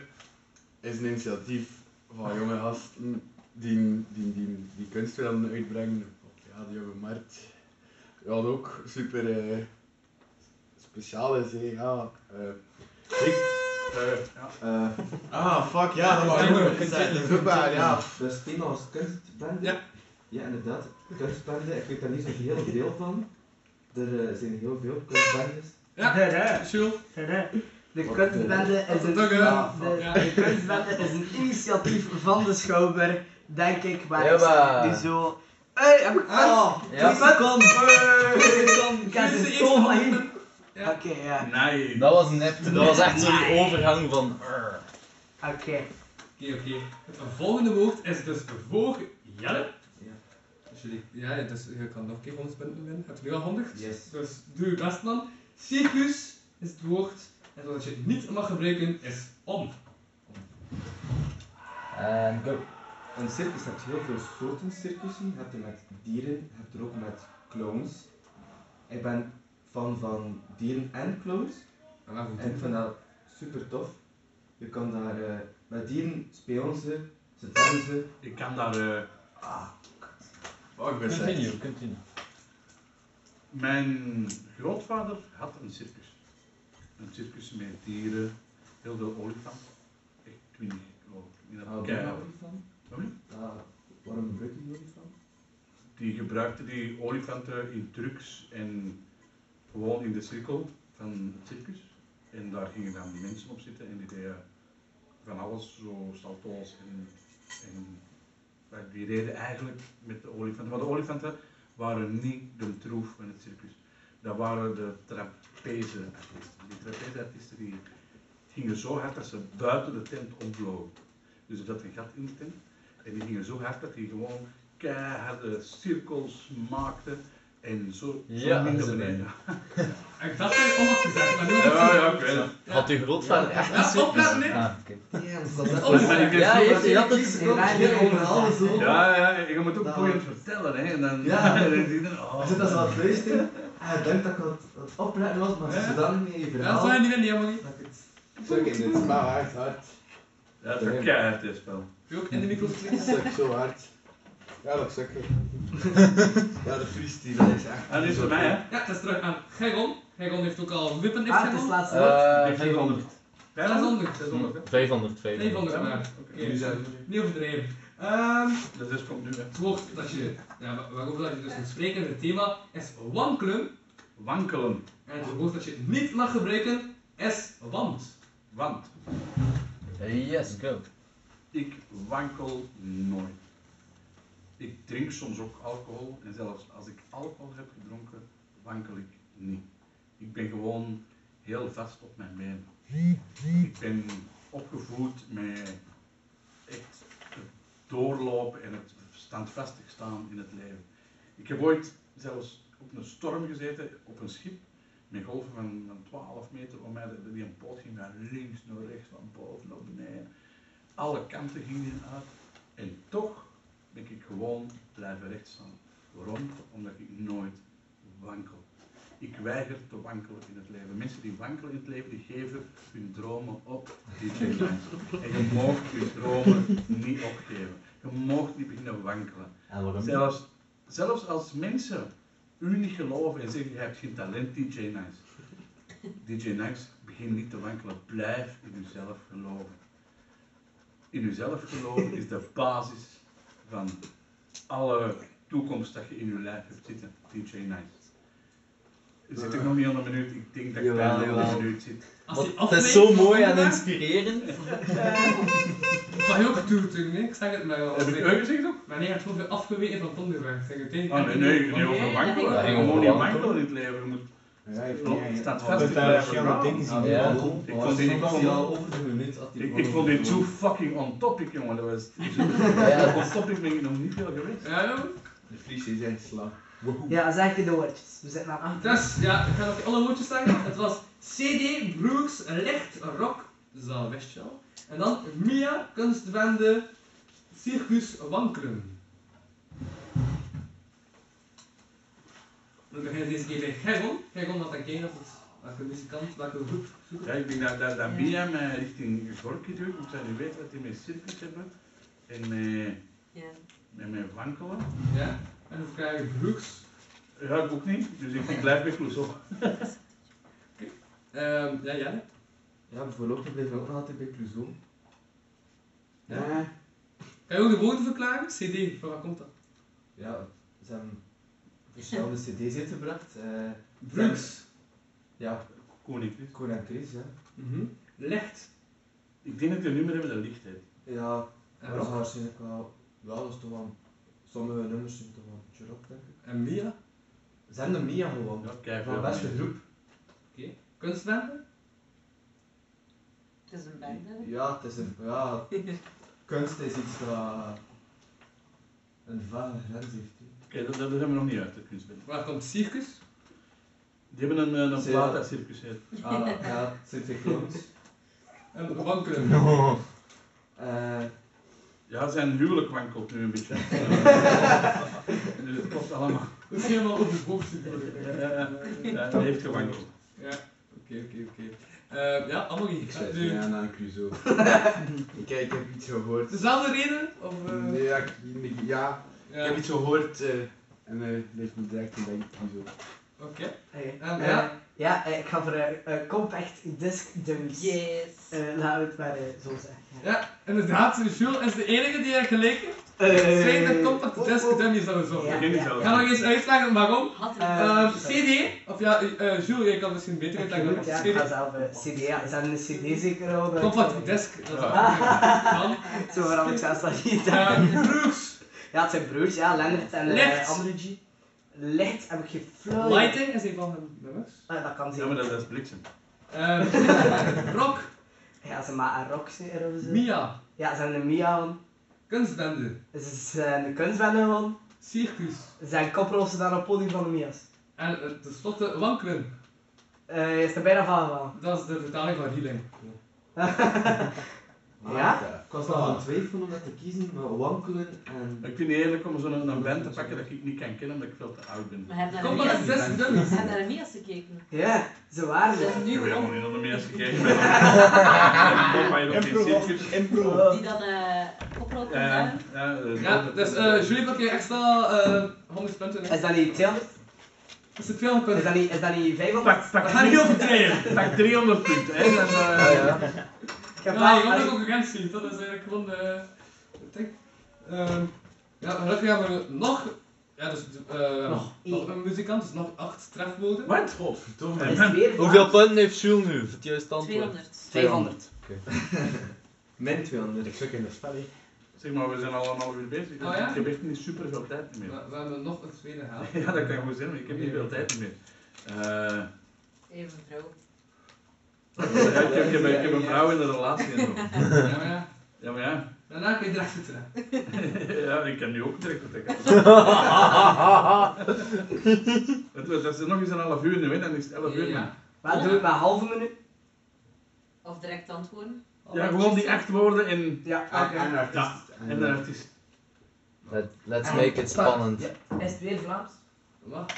[SPEAKER 15] is een initiatief van jonge gasten die, die, die, die kunst willen uitbrengen op ja, de jonge markt. Wat ook super eh, speciaal is, hè. ja. eh, ik, eh, ah, fuck, ja, dat was ook gezegd. Super, ja.
[SPEAKER 10] Dat is thema als kunstbende. Ja. Ja, inderdaad. Kunstbende, ik weet daar niet zo heel veel van. Er eh, zijn heel veel kunstbendes.
[SPEAKER 9] Ja, Jules.
[SPEAKER 14] De kunstbende is een,
[SPEAKER 9] Dat is ook, hè?
[SPEAKER 14] ja, de, de kunstbende is een initiatief van de Schouwburg, denk ik, waar ik
[SPEAKER 8] Jawel.
[SPEAKER 14] nu zo... Hey, heb ik ah,
[SPEAKER 8] Ja.
[SPEAKER 14] Twee seconden! Twee seconden! Ik heb een school van hier. Oké, ja.
[SPEAKER 7] Nee.
[SPEAKER 8] Dat was nep. Dat was echt zo'n
[SPEAKER 14] Nee.
[SPEAKER 8] overgang van.
[SPEAKER 14] Oké.
[SPEAKER 9] Oké, oké. Het volgende woord is dus voor Jelle. Dus jullie, ja, dus je kan nog een keer 100 punten winnen. Heb je nu al 100?
[SPEAKER 10] Yes.
[SPEAKER 9] Dus doe je best dan. Circus is het woord. En wat je niet mag gebruiken is om.
[SPEAKER 10] En go. Een circus hebt heel veel soorten circussen. Je hebt er met dieren, je hebt er ook met clowns. Ik ben fan van dieren en clowns.
[SPEAKER 9] Ah, goed.
[SPEAKER 10] En ik vind dat super tof. Je kan daar eh, met dieren spelen ze, ze dansen.
[SPEAKER 7] Ik kan daar. eh, ah. Oh, ik ben
[SPEAKER 8] Continue,
[SPEAKER 7] slecht.
[SPEAKER 8] continue.
[SPEAKER 7] Mijn grootvader had een circus. Een circus met dieren, heel veel olifanten. Ik weet niet, ik geloof niet dat
[SPEAKER 10] Waarom
[SPEAKER 7] ik ken.
[SPEAKER 10] olifant?
[SPEAKER 7] Sorry?
[SPEAKER 10] Ah, waarom gebruik je die olifant?
[SPEAKER 7] Die gebruikte die olifanten in trucs en gewoon in de cirkel van het circus. En daar gingen dan die mensen op zitten en die deden van alles, zo salto's en, en maar die reden eigenlijk met de olifanten. Maar de olifanten waren niet de troef van het circus. Dat waren de trapezeartiesten. Die trapezeartiesten die gingen zo hard dat ze buiten de tent opvlogen. Dus er zat een gat in de tent. En die gingen zo hard dat die gewoon keiharde cirkels maakten. En zo, zo
[SPEAKER 8] Ja,
[SPEAKER 7] minder
[SPEAKER 8] ze
[SPEAKER 7] beneden.
[SPEAKER 9] Ik dacht dat je om had gezegd, maar nu
[SPEAKER 7] Ja, ja, ik weet het.
[SPEAKER 8] Had uw grootvader echt
[SPEAKER 9] Ja,
[SPEAKER 8] een circus?
[SPEAKER 9] opletten, hè.
[SPEAKER 8] Ah, oké.
[SPEAKER 7] Ja,
[SPEAKER 8] Ja,
[SPEAKER 7] heeft-
[SPEAKER 8] je
[SPEAKER 7] je had
[SPEAKER 8] had
[SPEAKER 7] het
[SPEAKER 8] het
[SPEAKER 14] gekocht. Ja, ik ben alles zo.
[SPEAKER 7] Ja, ja, je moet ook boeiend vertellen, hè. En dan,
[SPEAKER 10] Ja.
[SPEAKER 7] dan denk je, oh.
[SPEAKER 10] Ik zit als aan het luisteren en ik denk dat ik aan het aan het opletten was, maar
[SPEAKER 9] Ja.
[SPEAKER 10] ze dan niet in je verhaal.
[SPEAKER 9] Dat zou je niet winnen, Amogi.
[SPEAKER 15] Suk in dit spel echt hard.
[SPEAKER 7] Ja, dat is keihard, dit spel.
[SPEAKER 9] Doe ook in de microfoon.
[SPEAKER 15] Suk zo hard. Ja, dat suk ik. Ja, de freestyle dat is echt.
[SPEAKER 7] Ah, dit is voor mij, hè?
[SPEAKER 9] Ja, dat is terug aan Gergon. Gergon heeft ook al wippen in
[SPEAKER 14] Ah, het is het laatste woord.
[SPEAKER 8] Eh,
[SPEAKER 7] Ik vind
[SPEAKER 8] 500.
[SPEAKER 9] 600.
[SPEAKER 8] 500, 500.
[SPEAKER 9] 500 maar.
[SPEAKER 7] Jullie
[SPEAKER 9] Oké,
[SPEAKER 7] zijn-
[SPEAKER 9] Niet overdreven. Ehm,
[SPEAKER 7] Dat is komt nu, hè.
[SPEAKER 9] het woord dat je, ja, waar- waarover dat je dus moet spreken, het thema, is wankelen.
[SPEAKER 7] Wankelen.
[SPEAKER 9] En het woord dat je niet mag gebruiken is want.
[SPEAKER 7] Want
[SPEAKER 8] Yes, go.
[SPEAKER 7] ik wankel nooit. Ik drink soms ook alcohol en zelfs als ik alcohol heb gedronken, wankel ik niet. Ik ben gewoon heel vast op mijn benen. Ik ben opgevoed met echt het doorlopen en het standvastig staan in het leven. Ik heb ooit zelfs op een storm gezeten, op een schip, met golven van, van 12 meter om mij, die een poot ging naar links, naar rechts, van boven naar beneden. Alle kanten gingen uit. En toch ben ik gewoon blijven rechtstaan. Waarom? Omdat ik nooit wankel. Ik weiger te wankelen in het leven. Mensen die wankelen in het leven, die geven hun dromen op, DJ Lines. En je mag je dromen niet opgeven. Je mag niet beginnen wankelen.
[SPEAKER 8] En waarom niet?
[SPEAKER 7] Zelfs, zelfs als mensen u niet geloven en zeggen, je hebt geen talent, DJ Nice. DJ Nice, begin niet te wankelen. Blijf in uzelf geloven. In uzelf geloven is de basis van alle toekomst dat je in je lijf hebt zitten. DJ Nice. Zit ik nog niet aan een minuut? Ik denk dat ik
[SPEAKER 8] Jawel,
[SPEAKER 7] bijna aan
[SPEAKER 8] jawel.
[SPEAKER 7] een minuut zit.
[SPEAKER 8] Als die Want het is aflevering zo mooi en vandaag- inspirerend.
[SPEAKER 9] Maar heel gedoe toen, nee? Ik zeg het maar wel.
[SPEAKER 7] Heb ik u gezegd ook?
[SPEAKER 9] Maar nee, het wordt weer afgeweten van het onderwerp. Zeg het tegen-
[SPEAKER 7] Oh nee, nee, je moet niet over wankelen. Je moet niet wankelen in het leven. Je moet... Je staat vast.
[SPEAKER 10] Je moet
[SPEAKER 7] in het
[SPEAKER 10] daar
[SPEAKER 7] leven.
[SPEAKER 10] verschillende dingen zien.
[SPEAKER 7] Ja,
[SPEAKER 10] Ja,
[SPEAKER 7] ik
[SPEAKER 10] cool.
[SPEAKER 7] vond- Ik
[SPEAKER 10] Maar
[SPEAKER 7] vond dit-
[SPEAKER 10] soms
[SPEAKER 7] ik
[SPEAKER 10] was
[SPEAKER 7] vond-
[SPEAKER 10] die al over de minuut dat die
[SPEAKER 7] Ik- Ik
[SPEAKER 10] gewoon
[SPEAKER 7] vond dit
[SPEAKER 10] gewoon-
[SPEAKER 7] zo fucking on topic, jongen. Dat was...
[SPEAKER 10] Ja.
[SPEAKER 7] On topic ben ik nog niet veel geweest.
[SPEAKER 15] De Fries is echt slag.
[SPEAKER 14] Ja, zeg je de woordjes. We zitten aan acht.
[SPEAKER 9] Dus ja, ik ga nog alle woordjes zeggen. Het was CD, Brooks, Licht, Rock, zo wist je al. En dan Mia, Kunstwende, Circus, Wankelen. Dan beginnen deze keer bij Gergon. Gergon, wat denk jij dat het, welke muzikant, welke groep zoeken?
[SPEAKER 7] Ja, ik denk dat, dat, dat Mia mij richting Gorky duwt. Ik zou niet weten wat die met circus hebben. En met,
[SPEAKER 16] Ja.
[SPEAKER 7] met mijn wankelen.
[SPEAKER 9] Ja, en dan krijg je Brooks.
[SPEAKER 7] Ja, ik ook niet. Dus ik ik blijf bij Clouseau.
[SPEAKER 9] Ehm, ja, ja.
[SPEAKER 10] Ja, voorlopig blijven we ook nog altijd bij Clouseau.
[SPEAKER 9] Ja. Kan je ook de woorden verklaren? CD, van waar komt dat?
[SPEAKER 10] Ja, ze hebben verschillende cd's uitgebracht. eh,
[SPEAKER 9] Brooks.
[SPEAKER 10] Ja.
[SPEAKER 7] Koen en Chris.
[SPEAKER 10] Koen en Chris, ja.
[SPEAKER 9] Licht.
[SPEAKER 7] Ik denk dat die nummer hebben dat licht heeft.
[SPEAKER 10] Ja,
[SPEAKER 7] En
[SPEAKER 10] dat is
[SPEAKER 7] rock?
[SPEAKER 10] waarschijnlijk wel... Ja, dat is toch wel... Sommige nummers zijn toch wel een beetje rock, denk ik.
[SPEAKER 9] En Mia?
[SPEAKER 10] Ze hebben de Mia gewoon.
[SPEAKER 7] Ja, kijk,
[SPEAKER 10] van
[SPEAKER 7] ja,
[SPEAKER 10] de beste
[SPEAKER 7] Mia.
[SPEAKER 10] groep.
[SPEAKER 9] Oké. Kunstwende?
[SPEAKER 16] Het is een band, hè?
[SPEAKER 10] Ja, het is een... Ja, kunst is iets dat... Een vage grens heeft.
[SPEAKER 7] Oké, dat, dat hebben we nog niet uit, dat kunstbeeld.
[SPEAKER 9] Waar komt Circus?
[SPEAKER 7] Die hebben een, eh, een
[SPEAKER 10] Ze-
[SPEAKER 7] plaat dat circus heet.
[SPEAKER 10] Ah, ja, zit ik klopt.
[SPEAKER 9] En wankelen.
[SPEAKER 10] No.
[SPEAKER 7] Ja, zijn huwelijk wankelt nu een beetje. dus het klopt allemaal.
[SPEAKER 9] Dat is helemaal overboord natuurlijk.
[SPEAKER 7] Ja, ja, ja. Ja, hij heeft gewankeld.
[SPEAKER 9] Ja, oké, oké, oké. Eh, Ja, Amory.
[SPEAKER 15] Ik
[SPEAKER 9] ga
[SPEAKER 15] zet
[SPEAKER 9] nu-
[SPEAKER 15] mij aan aan Clouseau. ik, ik heb iets gehoord.
[SPEAKER 9] Dezelfde reden? Of, eh?
[SPEAKER 15] Nee, ja, ik, ik- ja,
[SPEAKER 9] Ja.
[SPEAKER 15] ik heb iets gehoord eh, en eh leeft me direct in bij Clouseau.
[SPEAKER 9] Oké.
[SPEAKER 14] Hey,
[SPEAKER 9] ja.
[SPEAKER 14] eh, ja, eh, ik ga voor eh, eh, compact disc dummies. Yes. laten we het maar eh, zo zeggen.
[SPEAKER 9] Ja, inderdaad, eh, Jules is de enige die er gelijk heeft.
[SPEAKER 14] Eh, oh.
[SPEAKER 9] Zijn de compact
[SPEAKER 15] oh,
[SPEAKER 9] disc dummies dat we zo.
[SPEAKER 14] Ja, ja.
[SPEAKER 9] Ik ga nog eens uitleggen waarom.
[SPEAKER 14] Had er-
[SPEAKER 9] Eh, CD, of ja, eh, Jules, jij kan misschien beter uitleggen
[SPEAKER 14] Goed,
[SPEAKER 9] waarom.
[SPEAKER 14] ja, ik ga zelf eh, CD. Ja, ze hebben een CD zeker al. eh,
[SPEAKER 9] Compact disc, dat is
[SPEAKER 14] Zo waarom ik zelfs dat niet.
[SPEAKER 9] Ja, broers.
[SPEAKER 14] Ja, het zijn broers, ja, Lennart en eh,
[SPEAKER 9] Licht.
[SPEAKER 14] andere G. Licht heb ik geen flauw idee.
[SPEAKER 9] Lighting is een van hun nummers.
[SPEAKER 14] Ah, dat kan
[SPEAKER 7] Ja,
[SPEAKER 14] zeker.
[SPEAKER 7] maar dat, dat is bliksem.
[SPEAKER 9] Ehm, rock.
[SPEAKER 14] Ja, ze maken rock zeker of zo.
[SPEAKER 9] Mia.
[SPEAKER 14] Ja, ze hebben een Mia van.
[SPEAKER 9] Kunstbende.
[SPEAKER 14] Ze zijn een kunstbende van.
[SPEAKER 9] Circus.
[SPEAKER 14] Ze zijn koppel of ze dan op het podium van de Mia's.
[SPEAKER 9] En eh, tenslotte wankelen.
[SPEAKER 14] Eh, je is er bijna van gevallen.
[SPEAKER 9] Dat is de vertaling van healing.
[SPEAKER 14] Ja?
[SPEAKER 10] Ik was nog aan het twijfelen om dat te kiezen, maar wankelen en...
[SPEAKER 7] Ik vind het eerlijk om zo'n een band te pakken dat ik niet kan kennen omdat ik veel te oud ben.
[SPEAKER 16] Maar hebben
[SPEAKER 7] Kom
[SPEAKER 16] naar
[SPEAKER 7] maar,
[SPEAKER 16] de
[SPEAKER 7] zes
[SPEAKER 16] Mia's-
[SPEAKER 7] dummies.
[SPEAKER 16] hebben naar de Mia's gekeken.
[SPEAKER 14] Ja, ze waren
[SPEAKER 16] er.
[SPEAKER 7] Ik heb helemaal niet naar de meeste gekeken. Papa, je hebt geen circus.
[SPEAKER 16] Die dan eh oprolt
[SPEAKER 7] Ja,
[SPEAKER 16] ja.
[SPEAKER 7] ja, eh,
[SPEAKER 9] Ja,
[SPEAKER 7] dat-
[SPEAKER 9] dus eh Julie pak je extra eh 100 punten.
[SPEAKER 14] Is dat niet 200?
[SPEAKER 9] Is het 200 punten?
[SPEAKER 14] Is dat niet, is dat niet 500?
[SPEAKER 7] Pak, pak 300, pak 300 punten. Hè. Dan,
[SPEAKER 8] Ah,
[SPEAKER 7] eh,
[SPEAKER 14] Ik
[SPEAKER 9] Ja,
[SPEAKER 14] heb
[SPEAKER 9] je
[SPEAKER 14] wel-
[SPEAKER 9] komt de concurrentie, dat is eigenlijk gewoon eh het ding. Ehm, ja, gelukkig hebben we nog, ja, dus, eh, nog, een muzikant, dus nog 8 trefwoorden.
[SPEAKER 7] Wat? eh, Godverdomme.
[SPEAKER 8] Hoeveel punten heeft Jules nu voor het juiste antwoord?
[SPEAKER 16] 200.
[SPEAKER 8] 200.
[SPEAKER 10] Mijn 200.
[SPEAKER 15] Ik stuk in de spel, hè.
[SPEAKER 7] Zeg maar, we zijn al een half uur bezig.
[SPEAKER 9] Oh ja?
[SPEAKER 7] Ik heb echt niet super veel tijd meer.
[SPEAKER 9] We, we hebben nog een tweede helft.
[SPEAKER 7] Ja, dat kan goed zijn, maar ik heb niet veel tijd meer. Eh,
[SPEAKER 16] Even vrouw.
[SPEAKER 7] ja, ik, heb, ik, heb, ik heb een vrouw in een relatie en zo.
[SPEAKER 9] Ja, maar ja.
[SPEAKER 7] Ja, maar ja.
[SPEAKER 9] Daarna kun je direct zitten.
[SPEAKER 7] ja, ik kan nu ook direct vertrekken. Het was, dat is nog eens een half uur nu, hè. dan is het 11 uur. man.
[SPEAKER 14] Wat doe ik nou? maar een halve minuut?
[SPEAKER 16] Of direct antwoorden.
[SPEAKER 7] Ja, gewoon die acht woorden en...
[SPEAKER 14] Ja,
[SPEAKER 7] en, en,
[SPEAKER 14] oké.
[SPEAKER 7] artiest. en de artiest.
[SPEAKER 8] Let, let's make it spannend.
[SPEAKER 14] Is het weer Vlaams?
[SPEAKER 9] Wat?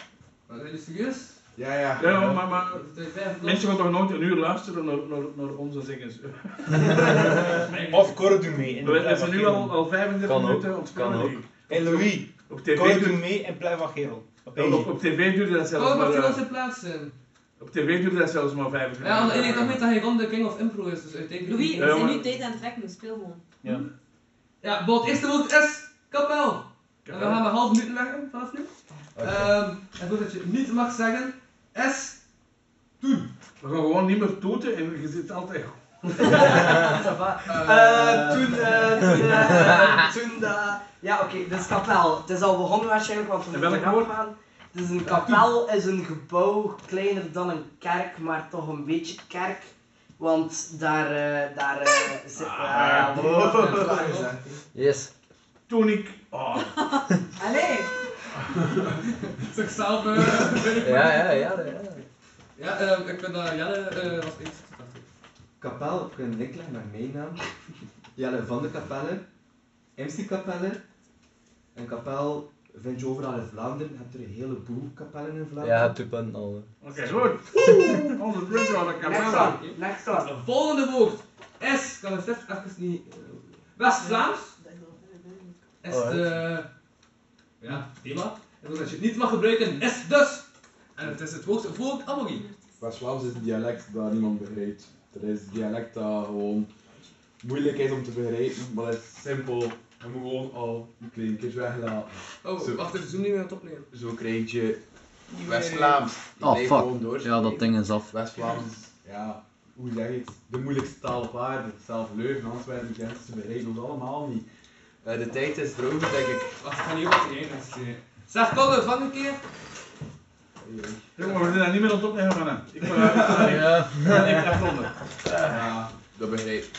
[SPEAKER 9] Wat, ben je serieus?
[SPEAKER 17] Ja, ja.
[SPEAKER 7] Ja, maar, maar
[SPEAKER 9] Oh,
[SPEAKER 7] mensen gaan toch nooit een uur luisteren naar, naar, naar onze zingers.
[SPEAKER 11] Of Cordoe mee.
[SPEAKER 7] We we zijn nu al, al 35
[SPEAKER 11] Kan ook,
[SPEAKER 7] minuten aan het
[SPEAKER 11] kan
[SPEAKER 7] spelen.
[SPEAKER 11] ook. En Louis,
[SPEAKER 7] Op
[SPEAKER 11] Cordoe
[SPEAKER 7] tv, duurde-
[SPEAKER 11] mee en Pluim van Geel.
[SPEAKER 7] op, op tv duurde dat zelfs
[SPEAKER 9] Oh,
[SPEAKER 7] maar...
[SPEAKER 9] mag je
[SPEAKER 7] eh,
[SPEAKER 9] wel zijn plaats zijn?
[SPEAKER 7] op tv duurde dat zelfs maar 25
[SPEAKER 9] Ja, want ik denk toch niet dat hij van de King of Impro is, dus uiteindelijk...
[SPEAKER 16] Louis, we
[SPEAKER 7] Ja,
[SPEAKER 16] zijn
[SPEAKER 7] maar-
[SPEAKER 16] nu tijd aan het trekken, speel gewoon.
[SPEAKER 11] Ja.
[SPEAKER 9] Ja, bot, het eerste woord is kapel. En we gaan een half minuut leggen vanaf nu. Ehm, en voordat je het niet mag zeggen, is toen.
[SPEAKER 7] We gaan gewoon niet meer toeten en je zit altijd...
[SPEAKER 4] Eh, toen, eh, toen, eh, toen, eh, ja oké, dit is kapel. Het is al begonnen waarschijnlijk, want we
[SPEAKER 7] En
[SPEAKER 4] moeten
[SPEAKER 7] welk woord?
[SPEAKER 4] eraf gaan. Het is een kapel, is een gebouw, kleiner dan een kerk, maar toch een beetje kerk. Want daar, eh, daar eh, zit...
[SPEAKER 7] Ah,
[SPEAKER 4] eh,
[SPEAKER 7] ja,
[SPEAKER 4] wow.
[SPEAKER 7] dat is waar gezegd,
[SPEAKER 8] Yes.
[SPEAKER 7] Toen ik... Oh.
[SPEAKER 16] Allee!
[SPEAKER 9] Zichzelf.
[SPEAKER 8] Ja, ja, ja, ja.
[SPEAKER 9] eh, Ja, ehm, ik vind dat Jelle eh, als eerste.
[SPEAKER 18] Kapel, ik een link leggen met mijn naam. Jelle van de Kapelle, MC Kapelle. En kapel vind je overal in Vlaanderen. Je hebt er een heleboel kapellen in
[SPEAKER 8] Ja,
[SPEAKER 18] Vlaanderen.
[SPEAKER 8] je hebt die punten al. hè.
[SPEAKER 7] Oké, goed. Onze punten hadden
[SPEAKER 9] Next
[SPEAKER 7] kapel.
[SPEAKER 9] one, next one. Het volgende woord is, kan het zelf even niet... eh, West-Vlaams is
[SPEAKER 11] Alright.
[SPEAKER 9] de... Ja, thema. En dat je het niet mag gebruiken is dus. En het is het woord voor Amogie.
[SPEAKER 17] West-Vlaams is een dialect dat niemand begrijpt. Er is een dialect dat gewoon moeilijk is om te begrijpen, maar het is simpel. Je moet gewoon al een klein keer weglaten.
[SPEAKER 9] Oh, wacht even, zoom niet meer aan het opnemen.
[SPEAKER 19] Zo krijg je West-Vlaams. Die
[SPEAKER 8] Oh,
[SPEAKER 19] blijft
[SPEAKER 8] fuck.
[SPEAKER 19] gewoon doorspreken.
[SPEAKER 8] Ja, dat ding is af.
[SPEAKER 19] West-Vlaams is, ja, hoe zeg je het? De moeilijkste taal op aarde. Zelf Leuven, Antwerpen, Gent, ze bereiken ons allemaal niet. Eh, de tijd is droog, denk ik.
[SPEAKER 9] Wacht, ik ga niet op het einde zien. Zeg, kom, we vangen een keer.
[SPEAKER 7] Jongen, we zijn daar niet meer aan het opleggen van hem. Ik eh, ben
[SPEAKER 8] Ja.
[SPEAKER 7] Ik ben afronden.
[SPEAKER 19] Ja, dat begrijp ik.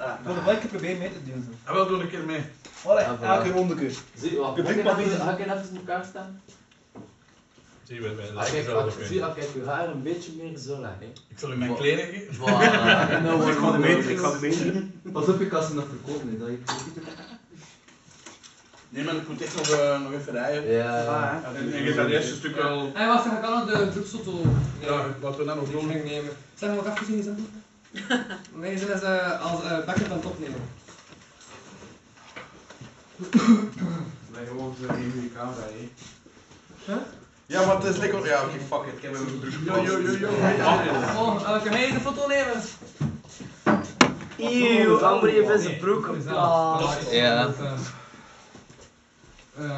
[SPEAKER 11] Ik wil er wel een keer proberen mee te doen.
[SPEAKER 7] En wel doe een keer mee.
[SPEAKER 11] Allee, elke ronde keer.
[SPEAKER 8] Zie wat?
[SPEAKER 11] Ik drink maar niet.
[SPEAKER 8] Ga ik even in elkaar staan?
[SPEAKER 20] Zie je bij mij.
[SPEAKER 8] Ah, kijk, als- zie,
[SPEAKER 20] Ik
[SPEAKER 8] als ik je haar een beetje meer zo leg, hè.
[SPEAKER 20] zal u mijn kleren geven.
[SPEAKER 8] Voilà. Nou,
[SPEAKER 20] Ik ga de meter, ik ga de meter.
[SPEAKER 18] Pas op je kassen dat verkopen, hè, dat je
[SPEAKER 19] Nee, maar ik moet echt nog, eh, nog even rijden.
[SPEAKER 8] Ja.
[SPEAKER 7] En je hebt dat eerste stuk al...
[SPEAKER 9] Hé, wacht, ik kan nog de broeksotto
[SPEAKER 7] Ja, laten we dat nog doen.
[SPEAKER 9] nemen. Zeg, wat even zien, is dat goed? Nee, ze is eh, als eh backup aan het opnemen.
[SPEAKER 19] Nee, gewoon zo in je camera, hè.
[SPEAKER 9] Huh?
[SPEAKER 19] Ja, maar het is lekker. Ja, oké, fuck it. Ik heb hem een broek
[SPEAKER 7] Yo, yo, yo, yo.
[SPEAKER 9] Oh, eh, kan jij de foto nemen?
[SPEAKER 4] Eeuw, Amber heeft in zijn broek geplaatst.
[SPEAKER 8] Ja.
[SPEAKER 9] Eh.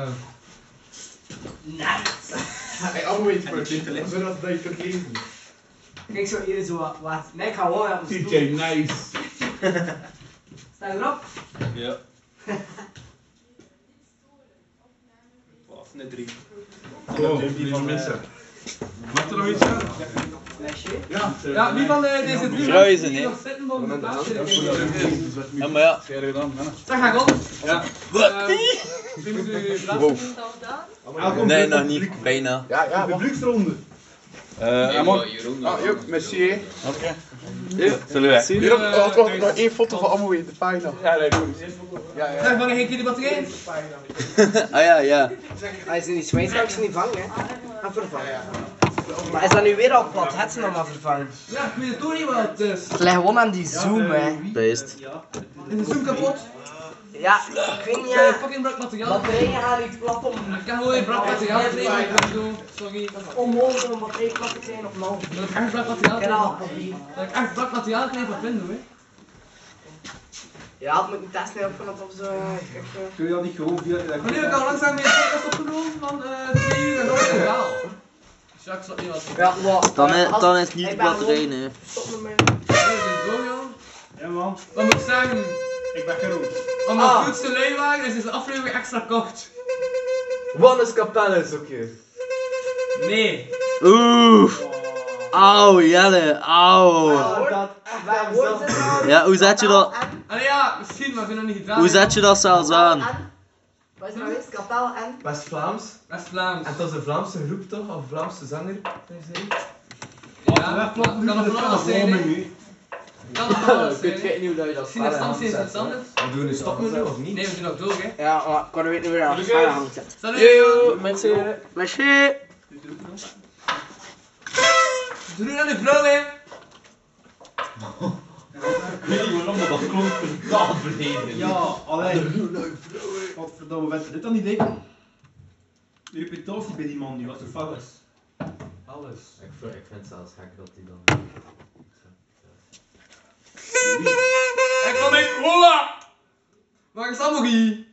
[SPEAKER 19] Hey, allemaal weet je maar, dit is zodat dat je kunt lezen.
[SPEAKER 4] Kijk zo hier zo wat- wat. Nee, ik ga gewoon op mijn
[SPEAKER 19] DJ Nice.
[SPEAKER 4] Sta erop.
[SPEAKER 11] Ja. Of net drie.
[SPEAKER 7] Oh, die van mensen. Mag er nog iets aan? Ja.
[SPEAKER 9] Ja, wie van eh, deze drie
[SPEAKER 8] Ruizen,
[SPEAKER 9] die
[SPEAKER 8] hè.
[SPEAKER 9] nog zitten mogen de plaats
[SPEAKER 8] Ja, maar ja.
[SPEAKER 7] Jij gedaan, hè?
[SPEAKER 9] Zeg, ga ik op.
[SPEAKER 7] Ja.
[SPEAKER 9] Wat? Wie moet u plaatsen?
[SPEAKER 8] Wow.
[SPEAKER 19] Welkom
[SPEAKER 8] Nee,
[SPEAKER 19] terug
[SPEAKER 8] nog
[SPEAKER 19] op
[SPEAKER 8] niet. Bijna.
[SPEAKER 19] Ja, ja, publieksronde.
[SPEAKER 8] Eh,
[SPEAKER 19] Ah, Joop, merci. hè.
[SPEAKER 8] Oké. Zullen wij?
[SPEAKER 19] Joop, had nog nog één foto van Amway, de pagina. Eh, Ja, nee, doe Ja, ja.
[SPEAKER 9] Zeg, wanneer ik jullie wat erin?
[SPEAKER 8] Ah ja, ja.
[SPEAKER 4] Hij is niet zwijs, ik ze niet vangen, hè. Ga vervangen. Maar is dat nu weer al plat hetsen om maar vervangen?
[SPEAKER 9] Ja, ik weet het ook niet wat het is.
[SPEAKER 4] Leg gewoon aan die zoom, hè.
[SPEAKER 8] Beest.
[SPEAKER 9] Is de zoom kapot?
[SPEAKER 4] Ja, ik weet niet,
[SPEAKER 9] Ja,
[SPEAKER 4] hè.
[SPEAKER 9] fucking brak materiaal.
[SPEAKER 4] Batterijen gaan niet plat om...
[SPEAKER 9] Ik kan gewoon brak materiaal nemen, ik kan doen. Sorry.
[SPEAKER 4] Onmogelijk om een batterij plat te krijgen op nul.
[SPEAKER 9] Dat ik echt brak materiaal
[SPEAKER 4] Kanaal,
[SPEAKER 9] krijg. Dat ik echt brak materiaal krijg van Pindo, hè.
[SPEAKER 4] Ja, het moet niet test mee opgenomen of zo. Ik- ik, eh,
[SPEAKER 18] Kun je dat niet gewoon via
[SPEAKER 9] Maar nu heb ik al langzaam weer een podcast opgenomen van eh, twee uur en nog een verhaal. Jacques zat niet wat.
[SPEAKER 4] Ja, wat?
[SPEAKER 8] Dan,
[SPEAKER 4] eh,
[SPEAKER 8] is-
[SPEAKER 4] als-
[SPEAKER 8] dan is het
[SPEAKER 4] ik
[SPEAKER 8] niet
[SPEAKER 4] ben
[SPEAKER 8] wat
[SPEAKER 4] gewoon-
[SPEAKER 8] erin, hè.
[SPEAKER 4] Stop met mijn...
[SPEAKER 11] Ja man,
[SPEAKER 9] Wat moet ik zeggen?
[SPEAKER 11] ik ben Gerald.
[SPEAKER 9] Omdat
[SPEAKER 4] Ah.
[SPEAKER 9] ah. goed te lui waren, is deze aflevering extra kort.
[SPEAKER 18] Wat is Capelle, zoek je?
[SPEAKER 9] Nee.
[SPEAKER 8] Oeh. Auw, Jelle. Auw.
[SPEAKER 4] Oh, dat echt woord is nou-
[SPEAKER 8] Ja, hoe zet je dat?
[SPEAKER 9] Allee ja, misschien, maar we hebben nog niet gedaan.
[SPEAKER 8] Hoe zet je dat zelfs aan?
[SPEAKER 4] Wat is er nou eens? Kapel en...
[SPEAKER 18] West-Vlaams.
[SPEAKER 9] West-Vlaams.
[SPEAKER 18] En dat is een Vlaamse groep toch? Of Vlaamse zanger?
[SPEAKER 9] Ja, klopt. Kan nog van alles zijn, hè. Kan nog van alles zijn, hè.
[SPEAKER 8] niet hoe je dat
[SPEAKER 9] Misschien is het anders, is het anders.
[SPEAKER 18] Wat doen we nu? Stoppen we nu of niet?
[SPEAKER 9] Nee, we doen dat door, hè.
[SPEAKER 4] Ja, maar ik kan weten niet meer aan
[SPEAKER 9] Salut!
[SPEAKER 8] Yo, mensen. Merci.
[SPEAKER 7] Dit
[SPEAKER 21] Doe nu aan de vrouw, hè.
[SPEAKER 22] Ik weet niet waarom, maar dat klonk totaal beneden.
[SPEAKER 7] Ja, alleen. Godverdomme, wat dit dan niet denken?
[SPEAKER 22] De reputatie bij die man nu, wat de fuck is. Alles.
[SPEAKER 8] Ik vind, ik vind het zelfs gek dat die dan.
[SPEAKER 9] Ik wil mijn cola!
[SPEAKER 21] Waar is Amogi?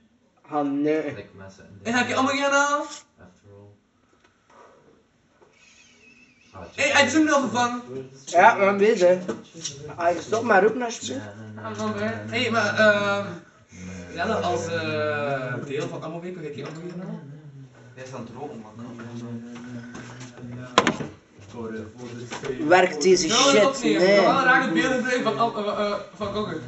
[SPEAKER 4] Ah, nee.
[SPEAKER 8] Ik messen. in de-
[SPEAKER 21] En ga ik Amogi aan
[SPEAKER 8] After all. Ah,
[SPEAKER 21] Hé, hij is hem al vervangen.
[SPEAKER 4] Ja, we zijn bezig. Ah, stop maar roepen alsjeblieft.
[SPEAKER 21] Hé, hey, maar ehm... Jelle, als eh, deel van Amogi, kun je een keer Amogi gaan
[SPEAKER 22] Hij is aan het roken, man.
[SPEAKER 8] eh,
[SPEAKER 4] Werkt deze shit? Nee.
[SPEAKER 9] Ik kan raak het beeld gebruiken van, Am- eh, eh, van Kokker.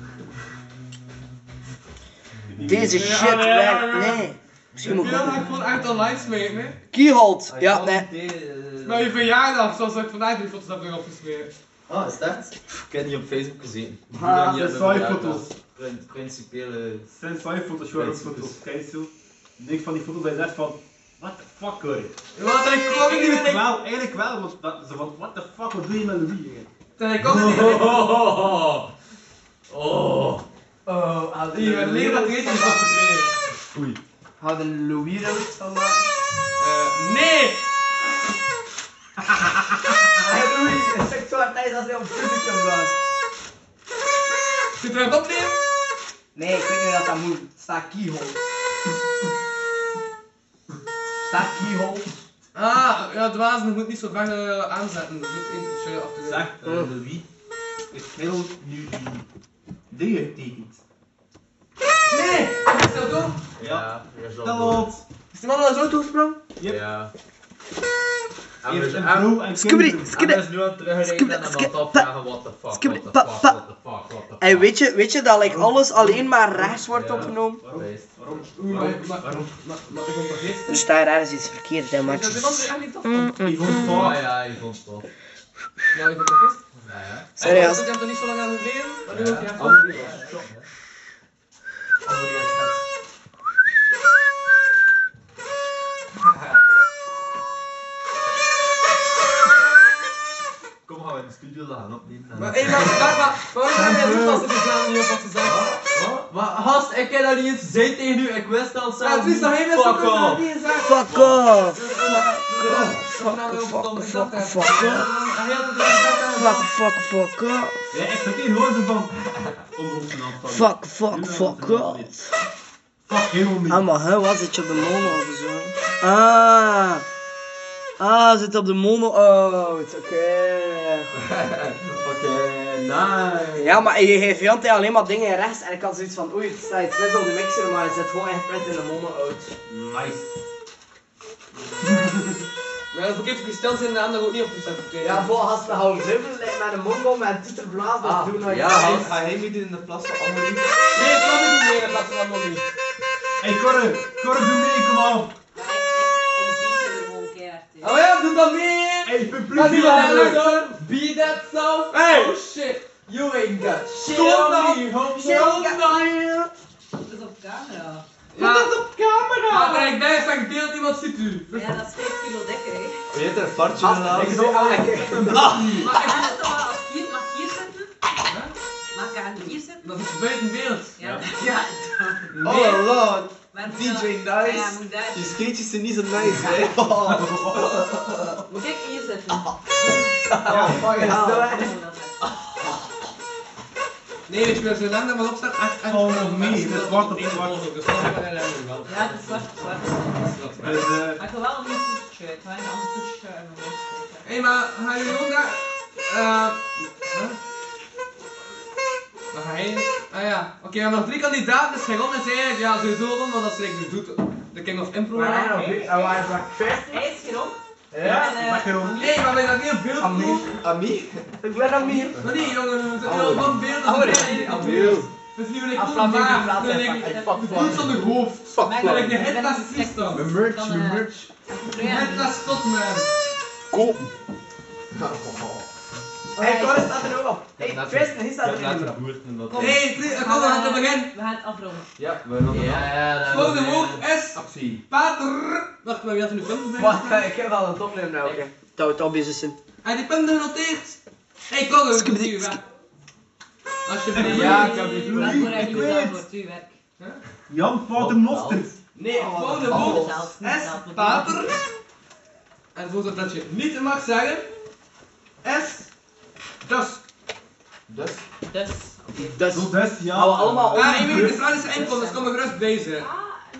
[SPEAKER 4] Deze
[SPEAKER 9] Ja,
[SPEAKER 4] shit
[SPEAKER 9] nee, ja,
[SPEAKER 4] werkt.
[SPEAKER 9] ja.
[SPEAKER 4] Nee. Misschien
[SPEAKER 9] Ik
[SPEAKER 4] moet ik
[SPEAKER 9] wil
[SPEAKER 4] ook-
[SPEAKER 9] eigenlijk gewoon uit online smeren, hè.
[SPEAKER 4] Keyhold. Ja, nee.
[SPEAKER 8] eh,
[SPEAKER 9] Maar je verjaardag, zoals ik vandaag die foto's heb nog opgesmeerd.
[SPEAKER 8] Ah, is dat? Ik heb die op Facebook gezien.
[SPEAKER 9] Ah,
[SPEAKER 8] Die
[SPEAKER 9] dat
[SPEAKER 8] hebben
[SPEAKER 9] zijn
[SPEAKER 8] we
[SPEAKER 9] foto's.
[SPEAKER 8] daar als Principiële.
[SPEAKER 7] Zijn saai foto's, gewoon foto's. Kijk eens, joh. Niks van die foto's dat je dacht van. What the fuck, hoor.
[SPEAKER 21] Wat een klopping die
[SPEAKER 7] Eigenlijk wel, eigenlijk wel, want dat, ze van. What the fuck, wat doe je met Louis? hè?
[SPEAKER 21] Dat ik ook niet.
[SPEAKER 7] Oh.
[SPEAKER 21] Oh. Oh,
[SPEAKER 9] Die eh, leer dat eten is opgeschreven.
[SPEAKER 21] Oei. Hadden Louis er iets van
[SPEAKER 9] Eh, nee!
[SPEAKER 21] Louis, zeg zo hard als hij op publiek blaast.
[SPEAKER 9] Zit er een opnemen?
[SPEAKER 21] Nee, ik weet niet dat dat moet. Staat keyhole. Staat keyhole.
[SPEAKER 9] Ah, ja, dwazen, je moet niet zo ver eh, aanzetten. Je moet eentje af te
[SPEAKER 7] Zeg, eh, Louis, ik wil nu die dingen tekent.
[SPEAKER 21] Nee! Is dat ook?
[SPEAKER 7] Ja,
[SPEAKER 21] Dat loopt. Is die man al Ah. zo toegesprongen?
[SPEAKER 7] Ja.
[SPEAKER 8] Anders-
[SPEAKER 21] een
[SPEAKER 8] en-
[SPEAKER 21] broer en Skibidi, kinderen. skibidi,
[SPEAKER 8] Anders nu aan het terugrijden en aan het opvragen: what the fuck, what the
[SPEAKER 4] pa-
[SPEAKER 8] fuck,
[SPEAKER 4] pa-
[SPEAKER 8] what the fuck, what the
[SPEAKER 4] En weet je, weet je dat like, alles alleen maar rechts wordt opgenomen?
[SPEAKER 7] Waarom?
[SPEAKER 9] Waarom? Waarom? Maar maar ik vond dat gisteren.
[SPEAKER 4] Er staat ergens iets verkeerd in, maar...
[SPEAKER 9] Is dat die man die echt niet tof
[SPEAKER 4] Mm,
[SPEAKER 9] vond?
[SPEAKER 4] mm, mm.
[SPEAKER 8] fuck. Ah ja, ik vond het tof.
[SPEAKER 9] Ja, ik vond dat gisteren.
[SPEAKER 8] Ja, ja.
[SPEAKER 4] Sorry,
[SPEAKER 9] Hij
[SPEAKER 4] als-
[SPEAKER 9] was ook- je hebt er niet zo lang aan geleden, maar nu ook je hebt
[SPEAKER 8] Andere
[SPEAKER 9] wel-
[SPEAKER 8] dingen. Kom, gaan we in de studio dat gaan opnemen.
[SPEAKER 21] Maar hé, maar wacht, maar waarom heb jij nu pas de reclame niet op wat gezegd?
[SPEAKER 8] Maar gast, ik heb dat niet eens gezegd tegen u, ik wist al zelf.
[SPEAKER 21] Ja, het is nog geen
[SPEAKER 8] Fuck off.
[SPEAKER 4] Fuck off!
[SPEAKER 21] Fuck off.
[SPEAKER 4] Fuck, fuck, fuck off!
[SPEAKER 7] Ja, ik verkeer gewoon zo van. Onbehoefte aanvallen.
[SPEAKER 4] Fuck, fuck, fuck off!
[SPEAKER 7] Fuck helemaal niet.
[SPEAKER 4] Ah, maar hè, wat zit je op de mono of zo? Ah! Ah, zit op de mono out, oké.
[SPEAKER 8] Oké, nice.
[SPEAKER 4] Ja, maar je geeft Jante alleen maar dingen rechts en ik had zoiets van, oei, het staat iets net op de mixer, maar je zit gewoon echt pret in de mono out.
[SPEAKER 7] Nice.
[SPEAKER 9] Maar dat verkeerd gesteld zijn, de anderen ook niet op gezet.
[SPEAKER 4] Ja, vol gasten houden dribbelen like, met een mongol met een toeterblaas, dat doen we
[SPEAKER 22] ja,
[SPEAKER 4] niet.
[SPEAKER 22] ga- ga hij meedoen in de plas van Amory?
[SPEAKER 9] Nee, ik kan niet meer, dat laat ik allemaal niet.
[SPEAKER 7] Hey Corre, Corre doe mee, kom op.
[SPEAKER 9] Oh ja, doe dat meer!
[SPEAKER 7] Hey, publiek.
[SPEAKER 9] Dat is
[SPEAKER 7] hier aan de
[SPEAKER 9] wel
[SPEAKER 7] deur.
[SPEAKER 9] hoor! Be that self! Oh shit! You ain't got shit
[SPEAKER 21] Kom
[SPEAKER 9] on
[SPEAKER 21] dan.
[SPEAKER 9] me, homie!
[SPEAKER 21] Shit
[SPEAKER 9] Kom
[SPEAKER 21] on
[SPEAKER 9] dan!
[SPEAKER 16] Dat is op camera.
[SPEAKER 9] Ja.
[SPEAKER 16] Dat is op camera!
[SPEAKER 9] Maar er ik bij, sta ik beeld, iemand ziet u.
[SPEAKER 16] Ja, dat is 5 kilo dikker, hè.
[SPEAKER 22] Weet er,
[SPEAKER 9] Ah,
[SPEAKER 22] fartje gedaan?
[SPEAKER 16] Maar ik moet toch wel als hier, mag ik hier zitten? Mag ik aan hier zitten?
[SPEAKER 9] Dat is buiten beeld.
[SPEAKER 16] Ja.
[SPEAKER 22] Oh lord,
[SPEAKER 16] Maar moet
[SPEAKER 22] DJ
[SPEAKER 16] dat- Ja, moet
[SPEAKER 22] Nice.
[SPEAKER 16] daar-
[SPEAKER 22] Je skatejes zijn niet zo nice, hè? Oh.
[SPEAKER 16] Moet ik hier zitten?
[SPEAKER 9] Ja, fuck
[SPEAKER 16] it.
[SPEAKER 9] Nee, weet je wel, zolang dat maar op staat, echt, echt. Oh nee, dat wordt op zwart. Dus dat is wel een wel.
[SPEAKER 16] Ja, het is zwart, zwart.
[SPEAKER 9] Dus, eh,
[SPEAKER 16] Maar ik wil wel een nieuw toetje. Ik wil een ander toetje uit mijn hoofd steken.
[SPEAKER 9] Hé, maar ga je ook daar? Eh. huh? Waar ga je? Ah ja, oké, we hebben nog drie kandidaten, dus Ron is eigenlijk, ja, sowieso Ron, want dat is eigenlijk de doet de King of Impro.
[SPEAKER 4] Maar hij nog niet, en waar is dat?
[SPEAKER 16] Hij is hier om.
[SPEAKER 9] Ja,
[SPEAKER 16] ik mag hier om.
[SPEAKER 9] Nee, maar ben dat niet op beeld Amir? Amir? Ik ben Amir. Maar nee, jongen, we zijn heel van beeld. Amir, Amir. Dat is niet gelijk
[SPEAKER 21] Aflaat
[SPEAKER 9] een
[SPEAKER 21] even
[SPEAKER 9] maag,
[SPEAKER 21] plaats,
[SPEAKER 9] dat is
[SPEAKER 21] hè,
[SPEAKER 9] gelijk
[SPEAKER 21] fuck,
[SPEAKER 9] de
[SPEAKER 21] fuck, fuck.
[SPEAKER 9] voet van de hoofd.
[SPEAKER 21] Fuck,
[SPEAKER 9] Dat is
[SPEAKER 21] fuck.
[SPEAKER 9] gelijk de headless system. Mijn merch,
[SPEAKER 16] eh,
[SPEAKER 9] mijn merch. Headless Scotman.
[SPEAKER 23] Kopen.
[SPEAKER 4] Hey, Cora staat er ook op. Hey, Tristan, hier staat er niet meer op.
[SPEAKER 9] Nee, nee, kom, we gaan het beginnen.
[SPEAKER 16] We gaan het afronden.
[SPEAKER 24] Ja, we gaan
[SPEAKER 9] Ja, Volgende woord is... Actie. Pater... Wacht, maar wie had er nu punten bij?
[SPEAKER 4] Wacht, ik heb al een opnemen nou. Touw het obvious is in.
[SPEAKER 9] Hij die punten genoteerd. Hey, kom, we moeten hier weg. Alsjeblieft. Ja, ik heb die
[SPEAKER 16] Laat maar eigenlijk zelf voor het uw werk.
[SPEAKER 25] Jan fout de mosterd.
[SPEAKER 9] Nee, het volgende
[SPEAKER 25] Oh.
[SPEAKER 9] woord
[SPEAKER 16] Zelf, niet
[SPEAKER 9] is
[SPEAKER 16] zelf, want-
[SPEAKER 9] pater. En het woord dat je niet mag zeggen is... Dus.
[SPEAKER 24] Dus.
[SPEAKER 16] Dus.
[SPEAKER 24] Dus.
[SPEAKER 25] Dus, ja.
[SPEAKER 9] Gaan we allemaal
[SPEAKER 24] Ja,
[SPEAKER 9] Ah, ik weet de vraag is enkel, dus kom maar gerust bezig.
[SPEAKER 16] Ah,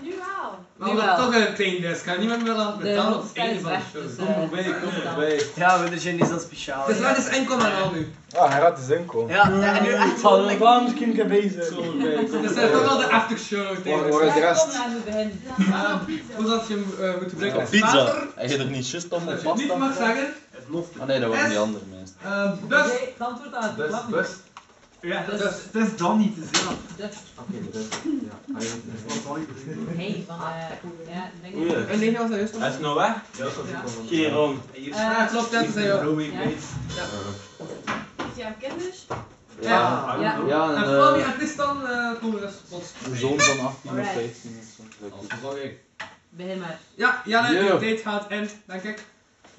[SPEAKER 16] nu wel.
[SPEAKER 9] Maar we hebben toch een klein dus. Kan niemand meer aan het betalen op het einde van de
[SPEAKER 16] dus,
[SPEAKER 9] show?
[SPEAKER 16] eh,
[SPEAKER 4] Kom erbij, kom erbij. Ja, we zijn niet zo speciaal.
[SPEAKER 9] Dus wat is enkel maar al nu?
[SPEAKER 24] Ah, hij gaat de inkomen.
[SPEAKER 4] Ja, en nu echt wel. like,
[SPEAKER 24] Waarom is Kim bezig?
[SPEAKER 9] Dus dat is toch wel de aftershow tegen.
[SPEAKER 24] Waar is de rest?
[SPEAKER 16] Ah,
[SPEAKER 9] Hoe dat je eh, moet gebruiken als
[SPEAKER 8] Pizza.
[SPEAKER 9] water,
[SPEAKER 8] Hij gaat er niet just om
[SPEAKER 9] Dat
[SPEAKER 8] of
[SPEAKER 9] je
[SPEAKER 8] pasta.
[SPEAKER 9] niet mag zeggen.
[SPEAKER 8] Ah nee, dat waren die
[SPEAKER 9] S.
[SPEAKER 8] andere mensen.
[SPEAKER 9] eh, Dus.
[SPEAKER 16] Nee, het antwoord aan het plan.
[SPEAKER 25] Ja,
[SPEAKER 9] dat
[SPEAKER 25] is- dat is dan niet te zeggen.
[SPEAKER 16] Dus.
[SPEAKER 24] Oké, dus. Ja, hij
[SPEAKER 16] Hey, want eh, ja, denk ik.
[SPEAKER 7] Oei.
[SPEAKER 9] En nee, als hij juist
[SPEAKER 7] Hij is nou weg? Ja, Geen rond.
[SPEAKER 9] Ja,
[SPEAKER 16] Eh,
[SPEAKER 9] klopt, dat is hij ook.
[SPEAKER 7] Rowing Bates.
[SPEAKER 16] Is jouw kinders?
[SPEAKER 9] Ja.
[SPEAKER 16] Ja.
[SPEAKER 8] Ja, en,
[SPEAKER 9] En Flavie
[SPEAKER 8] eh,
[SPEAKER 9] en Tristan eh, komen dus ons.
[SPEAKER 8] Een zoon van 18 of
[SPEAKER 16] Alright.
[SPEAKER 8] 15 of zo.
[SPEAKER 16] Begin maar.
[SPEAKER 9] Ja, Janne,
[SPEAKER 8] Ja.
[SPEAKER 9] de tijd gaat in, denk ik.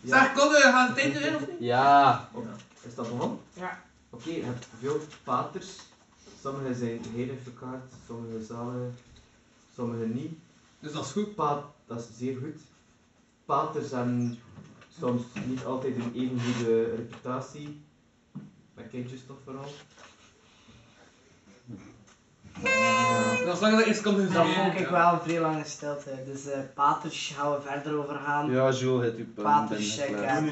[SPEAKER 9] Zeg, kom, eh, gaat de tijd erin of niet?
[SPEAKER 24] Ja. Is dat begonnen?
[SPEAKER 16] Ja.
[SPEAKER 24] Oké, je hebt veel paters. Sommige zijn heel verkaart, sommige zalen, sommige niet.
[SPEAKER 9] Dus dat is goed.
[SPEAKER 24] Pa dat is zeer goed. Paters hebben soms niet altijd een even goede reputatie. Met kindjes toch vooral.
[SPEAKER 9] Dat is lang dat iets komt in
[SPEAKER 4] Dan vond ik wel een vrij lange stilte. Dus eh paters gaan we verder over gaan.
[SPEAKER 8] Ja, Jules heeft uw punt.
[SPEAKER 4] Paters, check uit.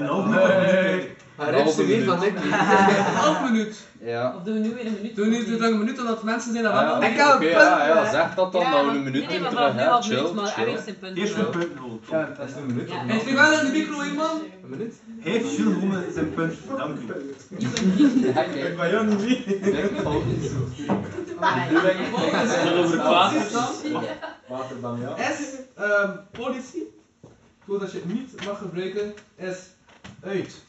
[SPEAKER 8] Hij rept ze niet van ik.
[SPEAKER 9] Een half minuut.
[SPEAKER 8] Ja.
[SPEAKER 16] Of doen we nu weer een minuut?
[SPEAKER 9] Doe nu doe dan een minuut omdat mensen zijn dat
[SPEAKER 8] Ah, ja,
[SPEAKER 9] wel.
[SPEAKER 8] oké, oké, ja, ja, zeg dat dan, dat we een minuut
[SPEAKER 16] nee, nee,
[SPEAKER 8] moeten
[SPEAKER 16] maar
[SPEAKER 8] terug
[SPEAKER 16] we hebben een minuut,
[SPEAKER 8] hebben. Chill,
[SPEAKER 16] maar hij heeft
[SPEAKER 8] chill.
[SPEAKER 16] zijn punt.
[SPEAKER 25] Eerst
[SPEAKER 16] wel.
[SPEAKER 25] mijn punt nodig.
[SPEAKER 24] Dat is een minuut.
[SPEAKER 16] Ja.
[SPEAKER 9] Heeft u wel in de micro iemand?
[SPEAKER 24] Een minuut?
[SPEAKER 25] Heeft Jules Homme zijn punt? Dank u.
[SPEAKER 8] Ik
[SPEAKER 25] ben jou niet mee.
[SPEAKER 9] Over
[SPEAKER 24] Water dan ja.
[SPEAKER 9] S, ehm, politie. Goed dat je het niet mag gebruiken. S, uit.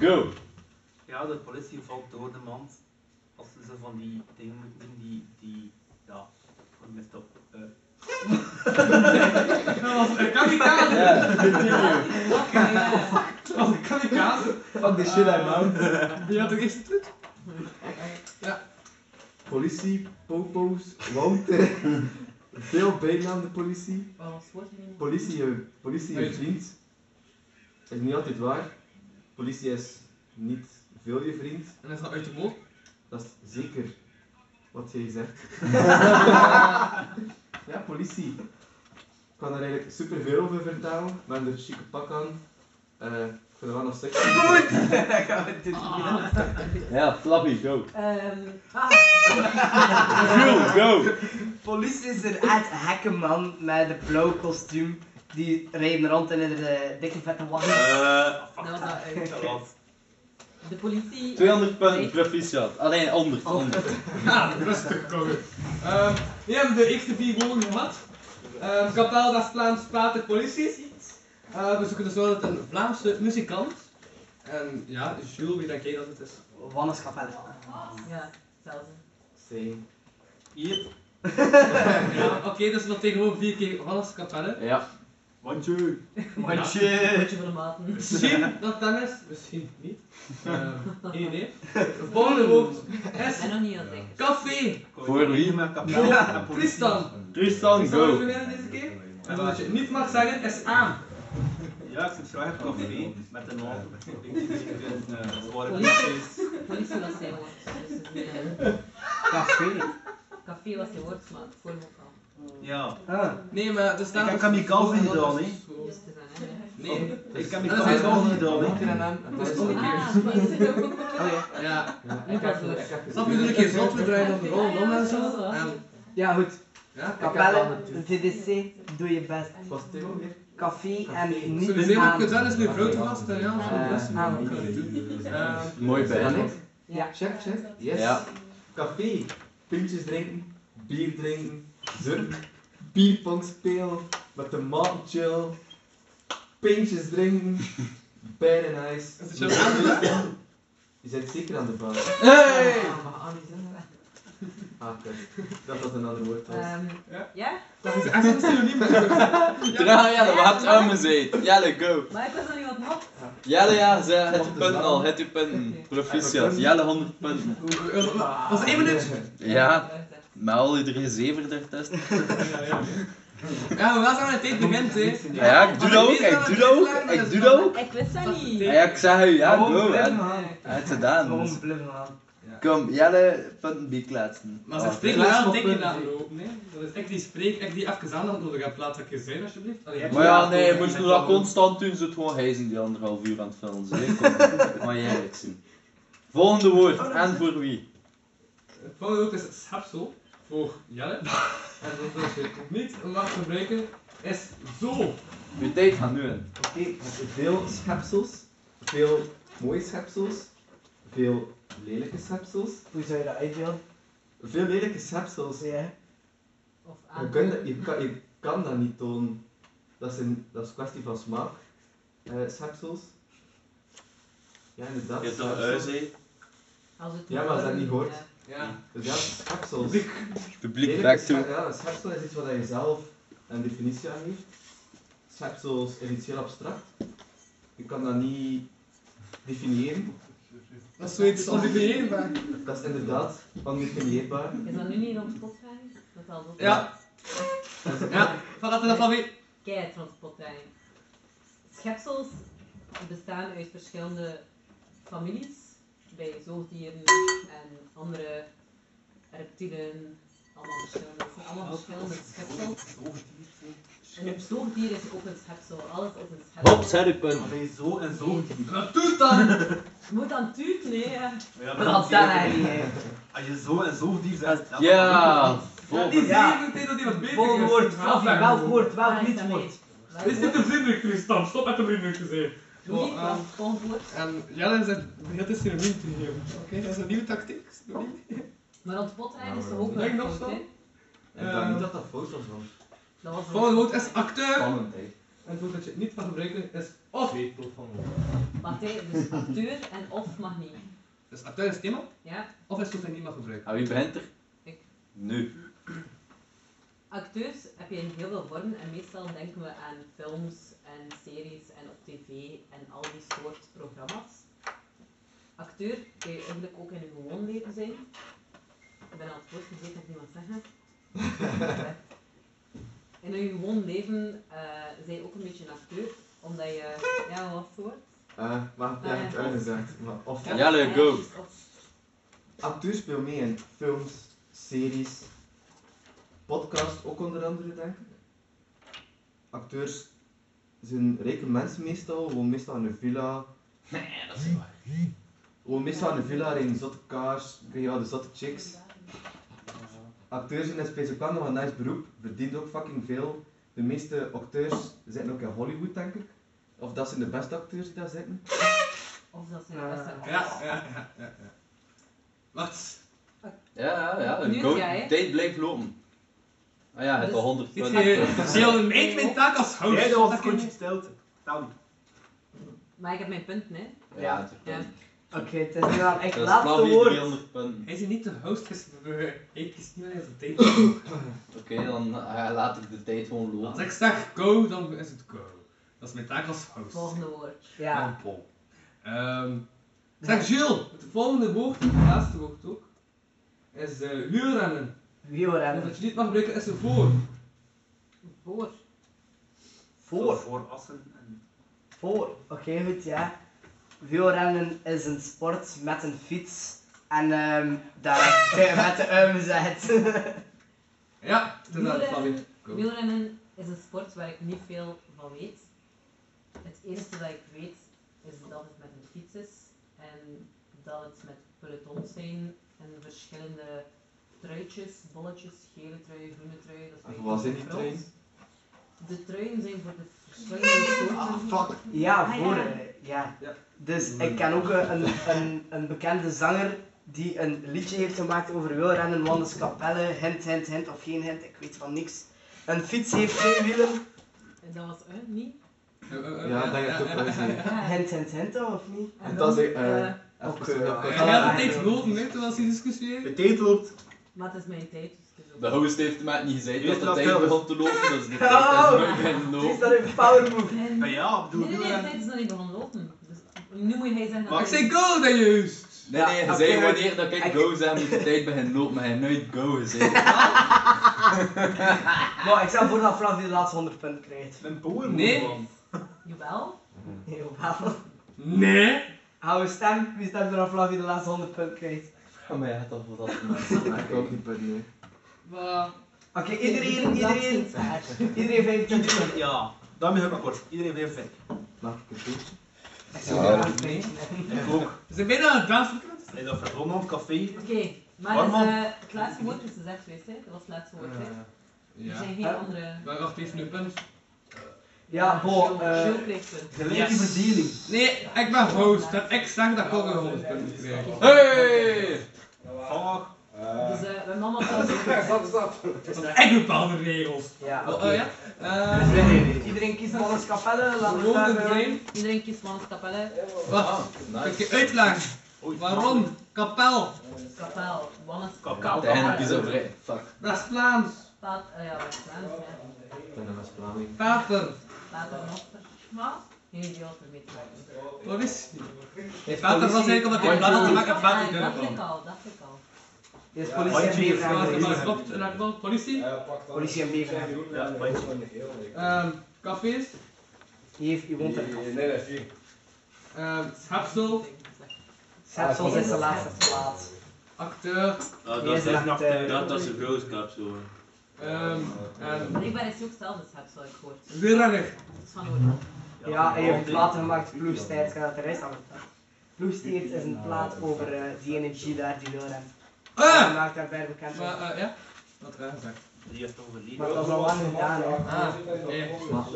[SPEAKER 8] Go.
[SPEAKER 7] Ja, de politie valt door de mand als ze zo van die dingen moeten doen die, die ja, gewoon mist op. eh.
[SPEAKER 9] Een kamikaze. Dat was een kamikaze.
[SPEAKER 24] Fuck the shit out man.
[SPEAKER 9] Die had ook eerst het
[SPEAKER 24] Politie, popo's, wanten. Veel bijnaam de politie. Politie, je- politie je vriend. Is niet altijd waar. Politie is niet veel je vriend.
[SPEAKER 9] En dat is nog uit de boog.
[SPEAKER 24] Dat is zeker wat jij zegt. ja, politie. Ik kan er eigenlijk superveel over vertellen. We hebben er een chique pak aan. Eh, ik vind het wel nog sexy.
[SPEAKER 8] Ja, Flappy, go.
[SPEAKER 4] Ehm, ah.
[SPEAKER 8] Jules, go.
[SPEAKER 4] Politie is een echt gekke man met een blauw kostuum. Die rijden rond in een eh, dikke vette wagen.
[SPEAKER 8] Eh,
[SPEAKER 16] Dat was dat uit. De politie.
[SPEAKER 8] 200 punten, proficiat. Ah nee, 100. 100.
[SPEAKER 9] Ja, rustig komen. Ehm we hebben de eerste vier woorden gehad. Ehm Kapel dat Vlaams Pater Politie. Ehm we zoeken dus wel uit een Vlaamse muzikant. En ja, Jules, wie denk jij dat het is?
[SPEAKER 4] Wannes Kapel.
[SPEAKER 16] Ja, hetzelfde.
[SPEAKER 24] Zijn.
[SPEAKER 9] Hier. ja, oké, dus dat tegen gewoon vier keer Wannes Kapelle.
[SPEAKER 24] Ja.
[SPEAKER 25] Mandje.
[SPEAKER 16] Een beetje voor de maten.
[SPEAKER 9] Misschien dat dan is, misschien niet. Ehm nee, nee. Het Volgende woord is
[SPEAKER 16] Ik ben nog niet heel zeker.
[SPEAKER 9] café.
[SPEAKER 8] Voor wie?
[SPEAKER 9] Ja, Tristan.
[SPEAKER 8] Tristan,
[SPEAKER 9] Tristan is
[SPEAKER 8] go.
[SPEAKER 9] meneer deze keer. En wat je niet mag zeggen is aan.
[SPEAKER 7] Ja, ik zit graag op café met een man. Ik denk dat het een eh, zware
[SPEAKER 16] Politie.
[SPEAKER 7] politie is.
[SPEAKER 16] Politie was zijn woord. dus het is niet, eh,
[SPEAKER 4] Café.
[SPEAKER 16] Café was zijn woord, maar voor me kwam.
[SPEAKER 7] Ja.
[SPEAKER 8] Ah,
[SPEAKER 9] Nee, maar er
[SPEAKER 7] Ik
[SPEAKER 9] staat.
[SPEAKER 7] heb
[SPEAKER 9] dus-
[SPEAKER 7] kamikaze
[SPEAKER 16] Dus het is aan
[SPEAKER 7] gedaan, hè.
[SPEAKER 16] hem, hè.
[SPEAKER 9] Nee,
[SPEAKER 7] Ik heb
[SPEAKER 9] Dat is
[SPEAKER 7] mijn kans
[SPEAKER 9] gewoon-
[SPEAKER 7] niet gedaan, hè.
[SPEAKER 9] dat is omgekeerd.
[SPEAKER 16] Ah, maar dat is ook-
[SPEAKER 9] Ja.
[SPEAKER 24] Ik heb het.
[SPEAKER 9] Snap je, we doen een keer zot, we draaien dan de rol om en zo. En
[SPEAKER 4] Ja, goed.
[SPEAKER 9] ja,
[SPEAKER 4] Kapellen, de TDC, doe je best.
[SPEAKER 24] Was het ook weer?
[SPEAKER 4] Café en niet Eh,
[SPEAKER 9] Sowieso,
[SPEAKER 4] aan.
[SPEAKER 9] ook Kuzan is nu grote gast en ja, zo'n best.
[SPEAKER 4] aan.
[SPEAKER 9] Ehm,
[SPEAKER 8] Mooi
[SPEAKER 24] Zijn dat
[SPEAKER 8] bij.
[SPEAKER 24] ik?
[SPEAKER 4] Ja.
[SPEAKER 24] Check, check. Yes.
[SPEAKER 8] Ja.
[SPEAKER 24] Café. Pintjes drinken. Bier drinken. Zurk. Bierpong spelen. Met de maat chill. Pintjes drinken. Bijna nice.
[SPEAKER 9] Is het jouw naam?
[SPEAKER 11] Je zit zeker aan de baan.
[SPEAKER 8] Hey!
[SPEAKER 11] Ah, maar Annie is aan de- Ah, kut. Dat was een ander woord. trouwens.
[SPEAKER 16] Ehm, ja?
[SPEAKER 11] Dat is echt een synoniem.
[SPEAKER 8] Ja, Jelle, we hebben armen zeet. Jelle, go.
[SPEAKER 16] Maar ik was nog iemand nog.
[SPEAKER 8] Jelle, ja, ze, het je punten al, het je punten. Proficiat, Jelle 100 punten.
[SPEAKER 16] Was één minuut?
[SPEAKER 8] Ja, met al iedereen zeven ertussen.
[SPEAKER 26] Ja, maar wel zijn we het tijd begint, hè.
[SPEAKER 8] Ja, ik doe dat ook, ik doe dat ook, ik doe dat ook.
[SPEAKER 16] Ik wist dat niet.
[SPEAKER 8] Ja, ik zeg u, ja,
[SPEAKER 16] Gewoon
[SPEAKER 8] go.
[SPEAKER 16] blijven
[SPEAKER 8] hè.
[SPEAKER 16] gaan.
[SPEAKER 8] Ja, Het is gedaan. dus.
[SPEAKER 16] Gewoon blijven aan.
[SPEAKER 8] Kom, Jelle, punten bijkletsen.
[SPEAKER 9] Maar ze
[SPEAKER 8] Ah,
[SPEAKER 9] spreken wel
[SPEAKER 8] ja.
[SPEAKER 9] dik in aanloop, nee. Dat is echt die spreek, echt die even aandacht nodig hebt. Laat dat keer zijn, alsjeblieft. Allee, jij-
[SPEAKER 8] Maar ja, nee, je moet dat constant doen, ze het gewoon hijzen die anderhalf uur aan het filmen zijn. hè. Maar jij, ik zien. Volgende
[SPEAKER 11] Oh,
[SPEAKER 8] woord, en voor wie?
[SPEAKER 9] Het volgende woord is schepsel voor Jelle. en dat is je niet mag gebruiken, is zo.
[SPEAKER 8] Uw tijd gaat nu in.
[SPEAKER 11] Oké, veel schepsels, veel mooie schepsels, veel lelijke schepsels.
[SPEAKER 4] Hoe zou je dat uitbeelden?
[SPEAKER 11] Veel lelijke schepsels. Ja.
[SPEAKER 4] Of
[SPEAKER 11] Je, kunt, dat- je, kan, je kan dat niet tonen. Dat is een, dat is een kwestie van smaak. Eh schepsels. Ja, inderdaad.
[SPEAKER 8] Je hebt dat
[SPEAKER 11] schepsels.
[SPEAKER 8] huis, hè.
[SPEAKER 16] Als het
[SPEAKER 11] Ja, maar als dat niet hoort.
[SPEAKER 9] Ja.
[SPEAKER 11] Dus ja, schepsels.
[SPEAKER 8] Publiek
[SPEAKER 11] Lelijke
[SPEAKER 8] werkt
[SPEAKER 11] sche-
[SPEAKER 8] toe.
[SPEAKER 11] Ja, een schepsel uh, is iets wat je zelf een definitie aan geeft. Schepsels is iets heel abstract. Je kan dat niet definiëren.
[SPEAKER 9] Dat is zoiets ondefinieerbaar.
[SPEAKER 11] Dat is inderdaad ondefinieerbaar.
[SPEAKER 16] Is dat nu niet rond spotleiding? Dat is al zo.
[SPEAKER 9] Ja. Ja, van dat is dat van wie?
[SPEAKER 16] Kijk, rond spotleiding. Schepsels bestaan uit verschillende families. Bij zoogdieren en andere reptielen. Allemaal verschillende, het zijn allemaal verschillende schepsels. En een zoogdier is ook een schepsel. Alles is een schepsel.
[SPEAKER 8] Hop, zet uw punten.
[SPEAKER 7] Zo en zo.
[SPEAKER 9] Wat doet dan?
[SPEAKER 16] Moet dan tuut? Nee. hè.
[SPEAKER 7] Ja,
[SPEAKER 16] Maar dat
[SPEAKER 7] zeker.
[SPEAKER 16] dan eigenlijk.
[SPEAKER 7] Als je zo en zo dier zegt, dan-
[SPEAKER 8] Ja,
[SPEAKER 9] Die
[SPEAKER 8] volgende.
[SPEAKER 9] zeven deed dat die wat beter
[SPEAKER 7] Volgende
[SPEAKER 9] is.
[SPEAKER 7] woord,
[SPEAKER 9] Ga
[SPEAKER 7] Fluffy,
[SPEAKER 9] weg.
[SPEAKER 7] welk woord,
[SPEAKER 16] welk Ah, is niet dat woord?
[SPEAKER 9] Dit is niet te vriendelijk, Tristan. Stop met te vriendelijk te zijn.
[SPEAKER 16] Doe niet,
[SPEAKER 9] ehm,
[SPEAKER 16] want volgend woord.
[SPEAKER 9] En Jelle zegt heel te synoniem te geven. Oké, dat is een nieuwe tactiek. synoniem.
[SPEAKER 16] Maar rond spotleiding is
[SPEAKER 11] Nou,
[SPEAKER 16] toch ook
[SPEAKER 9] Denk
[SPEAKER 16] een
[SPEAKER 9] nog
[SPEAKER 16] fout,
[SPEAKER 9] zo.
[SPEAKER 16] hè?
[SPEAKER 11] Ik dacht
[SPEAKER 9] Ehm,
[SPEAKER 11] niet dat dat fout was. man.
[SPEAKER 16] Dat was een-
[SPEAKER 9] Volgende woord is acteur.
[SPEAKER 11] Spannend, hè.
[SPEAKER 9] En het woord dat je niet mag gebruiken is of.
[SPEAKER 16] Wacht, hè, dus acteur en of mag niet.
[SPEAKER 9] Dus acteur is thema,
[SPEAKER 16] Ja,
[SPEAKER 9] of is het woord dat je niet mag gebruiken.
[SPEAKER 8] En Ah, wie begint er?
[SPEAKER 16] Ik.
[SPEAKER 8] Nu.
[SPEAKER 16] acteurs heb je in heel veel vormen en meestal denken we aan films en series en op tv en al die soort programma's. Acteur kun je eigenlijk ook in je gewoon leven zijn. Ik ben al het woord gezeten, dat niemand zeggen. In je gewoon leven eh ben je ook een beetje een acteur, omdat je... Ja, wat voor?
[SPEAKER 11] Eh, maar ja, ik
[SPEAKER 16] Ah,
[SPEAKER 11] heb het
[SPEAKER 16] ja.
[SPEAKER 11] uitgezegd. Maar of
[SPEAKER 8] Jelle, go.
[SPEAKER 11] Acteurs speelt mee in films, series, podcast ook onder andere, denk ik. Acteurs zijn rijke mensen meestal, wonen meestal in een villa. Nee, dat is niet waar. Wonen meestal in een villa, rijden zotte kaars, krijg je wel de zotte chicks. Acteurs zijn in specifiek ook nog een nice beroep, verdient ook fucking veel. De meeste acteurs zitten ook in Hollywood, denk ik. Of dat zijn de beste acteurs die daar zitten.
[SPEAKER 16] Of dat zijn best
[SPEAKER 9] Ja, ja, ja, ja. ja. Wat?
[SPEAKER 8] Ja, ja, ja.
[SPEAKER 16] Nu
[SPEAKER 8] go.
[SPEAKER 16] jij.
[SPEAKER 8] Tijd blijft lopen. Ah ja, het
[SPEAKER 16] Dus-
[SPEAKER 8] al 100
[SPEAKER 9] Dit
[SPEAKER 8] punten.
[SPEAKER 9] is heel meid mijn taak als host.
[SPEAKER 7] Jij dat was
[SPEAKER 9] Dat kan
[SPEAKER 7] goed
[SPEAKER 9] niet.
[SPEAKER 7] gesteld. Dan.
[SPEAKER 16] Maar ik heb mijn punt, hè?
[SPEAKER 8] Ja, het is
[SPEAKER 16] Ja.
[SPEAKER 4] Oké, het is nu dan echt
[SPEAKER 8] Dat is
[SPEAKER 4] laatste
[SPEAKER 8] Flavie,
[SPEAKER 4] woord.
[SPEAKER 8] 300 punten.
[SPEAKER 9] Hij is hier niet de host, hij is ik is niet meer zijn tijd.
[SPEAKER 8] Oké, dan eh, laat ik de tijd gewoon
[SPEAKER 9] Als
[SPEAKER 8] lopen.
[SPEAKER 9] ik zeg go, dan is het go. Dat is mijn taak als host.
[SPEAKER 16] Volgende woord.
[SPEAKER 4] Ja.
[SPEAKER 9] Dan Paul. Ehm, zeg Jules, het volgende woord, het laatste woord ook, is eh, wielrennen.
[SPEAKER 4] Wielrennen.
[SPEAKER 9] Wat je niet mag gebruiken is voor.
[SPEAKER 16] Voor.
[SPEAKER 4] Voor.
[SPEAKER 7] Voor assen en...
[SPEAKER 4] Voor. Oké, goed, ja. Wielrennen is een sport met een fiets. En ehm daar met de uimen zet.
[SPEAKER 9] Ja, het is aan het
[SPEAKER 16] Wielrennen,
[SPEAKER 9] Flavie. Go.
[SPEAKER 16] wielrennen is een sport waar ik niet veel van weet. Het enige dat ik weet is dat het met een fiets is en dat het met pelotons zijn en verschillende truitjes, bolletjes, gele trui, groene trui. Dat
[SPEAKER 11] En voor
[SPEAKER 16] weet ik
[SPEAKER 11] wat
[SPEAKER 16] niet
[SPEAKER 11] zijn die
[SPEAKER 16] vooral.
[SPEAKER 11] trein?
[SPEAKER 16] De truien zijn voor de verschillende soorten.
[SPEAKER 4] Ah, fuck. Ja,
[SPEAKER 16] Ah,
[SPEAKER 4] voor.
[SPEAKER 16] ja.
[SPEAKER 4] eh, Ja. Dus ik ken ook eh, een, een, een bekende zanger die een liedje heeft gemaakt over wielrennen, Wannes Capelle, hint, hint, hint of geen hint, ik weet van niks. Een fiets heeft twee wielen.
[SPEAKER 16] En dat was hun, niet?
[SPEAKER 11] Ja, dat denk ik ook wel. eens, hè.
[SPEAKER 4] Hint, hint, hint of niet?
[SPEAKER 11] En dat is, eh,
[SPEAKER 16] eh,
[SPEAKER 27] Ook,
[SPEAKER 28] Even-
[SPEAKER 27] eh,
[SPEAKER 28] ja,
[SPEAKER 27] ook-
[SPEAKER 28] ja.
[SPEAKER 9] Hij gaat de tijd lopen, hè, terwijl ze discussiëren.
[SPEAKER 27] De tijd loopt.
[SPEAKER 16] Maar het is mijn tijd, dus het is ook-
[SPEAKER 29] De host heeft mij niet gezegd
[SPEAKER 27] Je
[SPEAKER 29] dat
[SPEAKER 27] weet
[SPEAKER 29] de
[SPEAKER 27] wat
[SPEAKER 29] tijd
[SPEAKER 27] wel is.
[SPEAKER 29] begon te lopen, dus de tijd
[SPEAKER 16] Oh,
[SPEAKER 29] is nog beginnen
[SPEAKER 16] het is
[SPEAKER 29] lopen.
[SPEAKER 16] dat een power move.
[SPEAKER 7] Ah,
[SPEAKER 29] Maar ja,
[SPEAKER 16] Nee, nee, nee, de tijd is nog niet begonnen lopen. Dus nu moet jij zeggen dat...
[SPEAKER 9] go dan juist!
[SPEAKER 29] Nee, nee, je
[SPEAKER 16] Ja,
[SPEAKER 29] zei
[SPEAKER 16] oké,
[SPEAKER 29] wanneer dat ik go zei, moet de tijd beginnen lopen, maar hij heeft nooit go gezegd.
[SPEAKER 4] Maar ik stel voor dat Flav die de laatste 100 punten krijgt.
[SPEAKER 7] Een power
[SPEAKER 4] Nee.
[SPEAKER 16] Jawel.
[SPEAKER 4] Jawel.
[SPEAKER 9] Nee.
[SPEAKER 4] Hou een stem. Wie stemt er aan Flav die de laatste 100 punten krijgt?
[SPEAKER 29] Ja, maar ja, toch wat
[SPEAKER 30] Ik ook niet punten, nee.
[SPEAKER 4] Oké, iedereen,
[SPEAKER 16] Dat is
[SPEAKER 4] iedereen.
[SPEAKER 16] iets waar.
[SPEAKER 4] Iedereen vijf punten.
[SPEAKER 7] Ja, daarmee heb ik akkoord. Iedereen blijft fit.
[SPEAKER 27] Mag ik het doen?
[SPEAKER 7] Ik ook.
[SPEAKER 9] Ze zijn bijna aan het dansen.
[SPEAKER 7] Nee, dat verdomme aan het café.
[SPEAKER 16] Oké, maar
[SPEAKER 7] Waar,
[SPEAKER 16] het,
[SPEAKER 7] man?
[SPEAKER 16] eh, het laatste woord is gezegd geweest, hè? Dat was het laatste woord, hè?
[SPEAKER 9] ja.
[SPEAKER 16] Er zijn geen
[SPEAKER 9] Hè?
[SPEAKER 16] andere... eh,
[SPEAKER 9] Maar wacht even, nu punt.
[SPEAKER 4] Ja, bo. eh,
[SPEAKER 16] Jules krijgt punten.
[SPEAKER 7] Gelijke verdeling.
[SPEAKER 9] Nee, ik ben host. hè. Ik zeg dat ik ook een 100 punten krijg.
[SPEAKER 29] Hey!
[SPEAKER 7] Fuck.
[SPEAKER 16] Dus eh, we hebben allemaal hetzelfde woord.
[SPEAKER 9] Stop, Ik bepaal de regels.
[SPEAKER 4] Ja.
[SPEAKER 9] Oh, oh ja? Eh,
[SPEAKER 4] Nee, nee, nee. Iedereen kiest Molles Capelle. Laat eh,
[SPEAKER 9] Gewoon de blame.
[SPEAKER 16] Iedereen kiest Mannes Capelle.
[SPEAKER 9] Wacht,
[SPEAKER 4] Oh.
[SPEAKER 9] ik je uitleggen. Waarom? Kapel.
[SPEAKER 16] Kapel. Mannes
[SPEAKER 9] Kapel.
[SPEAKER 29] Uiteindelijk is het vrij. Fuck.
[SPEAKER 9] West-Vlaams.
[SPEAKER 16] Staat, eh, ja, West-Vlaams, ja.
[SPEAKER 27] Ik ben een West-Vlaming.
[SPEAKER 9] Pater.
[SPEAKER 16] Staat er nog voor. Maar, geen idee wat ermee te maken.
[SPEAKER 9] Wat is die? Pater was eigenlijk omdat hij plannen had te maken
[SPEAKER 16] Ja,
[SPEAKER 9] pater
[SPEAKER 16] ja,
[SPEAKER 9] kunnen
[SPEAKER 16] Ah, dacht
[SPEAKER 9] vallen.
[SPEAKER 16] ik al, dacht ik al.
[SPEAKER 4] Dit is
[SPEAKER 9] Handje
[SPEAKER 4] politie en
[SPEAKER 9] gevraagd, maar
[SPEAKER 4] Beverheim.
[SPEAKER 9] klopt, en dat klopt. Politie?
[SPEAKER 4] Politie en Beverheim.
[SPEAKER 7] Ja,
[SPEAKER 9] Ehm, cafés?
[SPEAKER 4] Hier heeft iemand een café.
[SPEAKER 9] Nee, dat is niet. ehm, Schepsel?
[SPEAKER 4] Schepsel is de laatste plaats. eh,
[SPEAKER 9] Acteur?
[SPEAKER 1] Ah,
[SPEAKER 4] Hier
[SPEAKER 1] dat,
[SPEAKER 4] is
[SPEAKER 1] is
[SPEAKER 4] de
[SPEAKER 1] echt nog,
[SPEAKER 4] acteur.
[SPEAKER 1] dat, dat is een broodskapsel. hoor.
[SPEAKER 9] Ehm,
[SPEAKER 16] Blijkbaar is hij ook zelf een schepsel, heb ik gehoord.
[SPEAKER 9] Wielrenner?
[SPEAKER 16] Dat is van hoor.
[SPEAKER 4] Ja, hij heeft een plaat gemaakt, Ploegstijd gaat de rest aan het Ploegstijd is een plaat over eh, die energie daar die door hem.
[SPEAKER 9] Eh!
[SPEAKER 4] Ah! Hij maakt daar verder bekend
[SPEAKER 9] Maar,
[SPEAKER 4] van.
[SPEAKER 9] eh, ja? Wat raar gezegd.
[SPEAKER 28] Die heeft
[SPEAKER 1] eh,
[SPEAKER 28] overleden.
[SPEAKER 4] Maar dat is al lang gedaan, hè.
[SPEAKER 9] Ah, nee.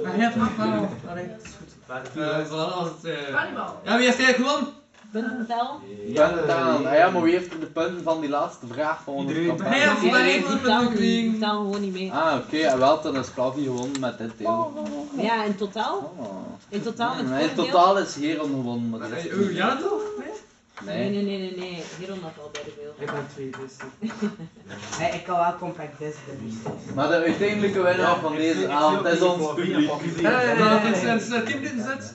[SPEAKER 9] Maar ja, het mag wel. Allee, dat is goed. Eh, voilà, dat was het. eh.
[SPEAKER 16] Carnival.
[SPEAKER 9] Ja, wie heeft jij gewonnen?
[SPEAKER 16] Punten tellen.
[SPEAKER 8] Punten tellen. Ah ja, maar wie heeft er de punten van die laatste vraag van onze campagne?
[SPEAKER 9] Hij heeft maar één punt
[SPEAKER 16] tellen
[SPEAKER 9] gekregen.
[SPEAKER 16] niet, die tellen gewoon niet mee.
[SPEAKER 8] Ah, oké, en wel, dan is Klavi gewonnen met dit deel. Ah.
[SPEAKER 16] Maar ja, in totaal? In totaal met
[SPEAKER 8] Nee, in
[SPEAKER 16] het voordeel-
[SPEAKER 8] totaal is Heron gewonnen, maar de rest
[SPEAKER 9] Eh, oeh, Ja, toch?
[SPEAKER 8] Nee.
[SPEAKER 16] Nee, nee, nee, nee, nee. Hierom nog wel derde veel.
[SPEAKER 4] Ik ben twee, dus. Hey, ik kan wel compact disc
[SPEAKER 8] Maar de uiteindelijke winnaar van deze avond is ons publiek.
[SPEAKER 9] Dat is een een team dit zet.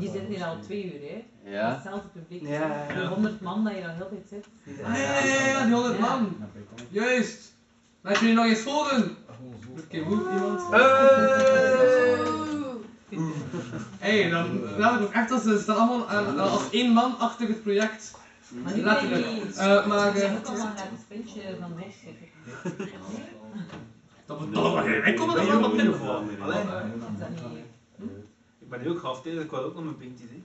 [SPEAKER 16] Die zitten hier al twee uur, hè?
[SPEAKER 8] Ja.
[SPEAKER 16] Hetzelfde publiek.
[SPEAKER 9] Ja, ja, ja.
[SPEAKER 16] Die 100 man dat je dan heel de tijd zit.
[SPEAKER 9] Ah, ja, ja, ja, ja, die 100 man. Juist. Laat jullie nog eens volgen. Eh, Oké, hoe iemand?
[SPEAKER 16] Ah.
[SPEAKER 9] Hé, dan laat ik ook echt als ze staan allemaal aan, als één man achter het project.
[SPEAKER 16] Maar nu
[SPEAKER 9] Letterlijk.
[SPEAKER 16] ben je niet.
[SPEAKER 9] Eh, maar,
[SPEAKER 16] Ik
[SPEAKER 9] eh,
[SPEAKER 16] zeg ook al maar naar het puntje van weg. zeg ik.
[SPEAKER 9] dat moet allemaal heen. Ik kom er nog wel wat in voor.
[SPEAKER 1] Allee.
[SPEAKER 16] Is dat niet-
[SPEAKER 1] Ik ben heel gaaf tegen, ik wil ook nog mijn pintjes hè.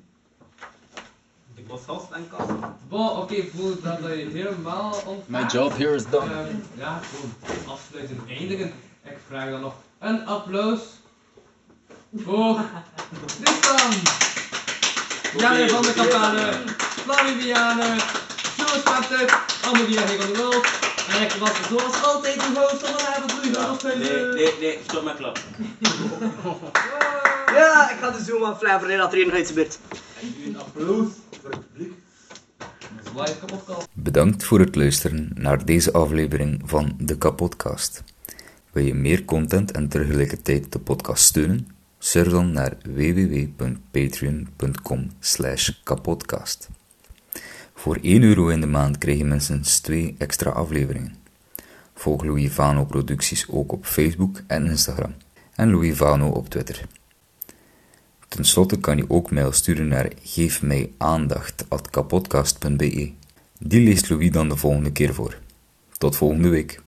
[SPEAKER 1] Ik was gast en kast.
[SPEAKER 9] Bon, oké, voel dat je helemaal ont.
[SPEAKER 8] My job here is done.
[SPEAKER 9] Ehm, ja, gewoon afsluiten en eindigen. Ik vraag dan nog een applaus voor Tristan, Janne van de Campane, Flavie Viane, Jules Patrick, Anne Diagne van de Wulp. En ik was zoals altijd uw host van de avond, Louis van
[SPEAKER 1] Nee,
[SPEAKER 9] Oosthuizen.
[SPEAKER 1] nee, nee, stop met klappen.
[SPEAKER 4] Ja, ik ga de zoom aan Flavor in dat er een uitgebeurt.
[SPEAKER 9] Een applaus voor het publiek. Live kapotcast.
[SPEAKER 11] Bedankt voor het luisteren naar deze aflevering van de Kapodcast. Wil je meer content en tegelijkertijd de podcast steunen? Surf dan naar www.patreon.com kapodcast. Voor 1 euro in de maand krijg je minstens 2 extra afleveringen. Volg Louis Vano producties ook op Facebook en Instagram en Louis Vano op Twitter. Ten slotte kan je ook mail sturen naar geefmijaandacht.kapodcast.be. Die leest Louis dan de volgende keer voor. Tot volgende week.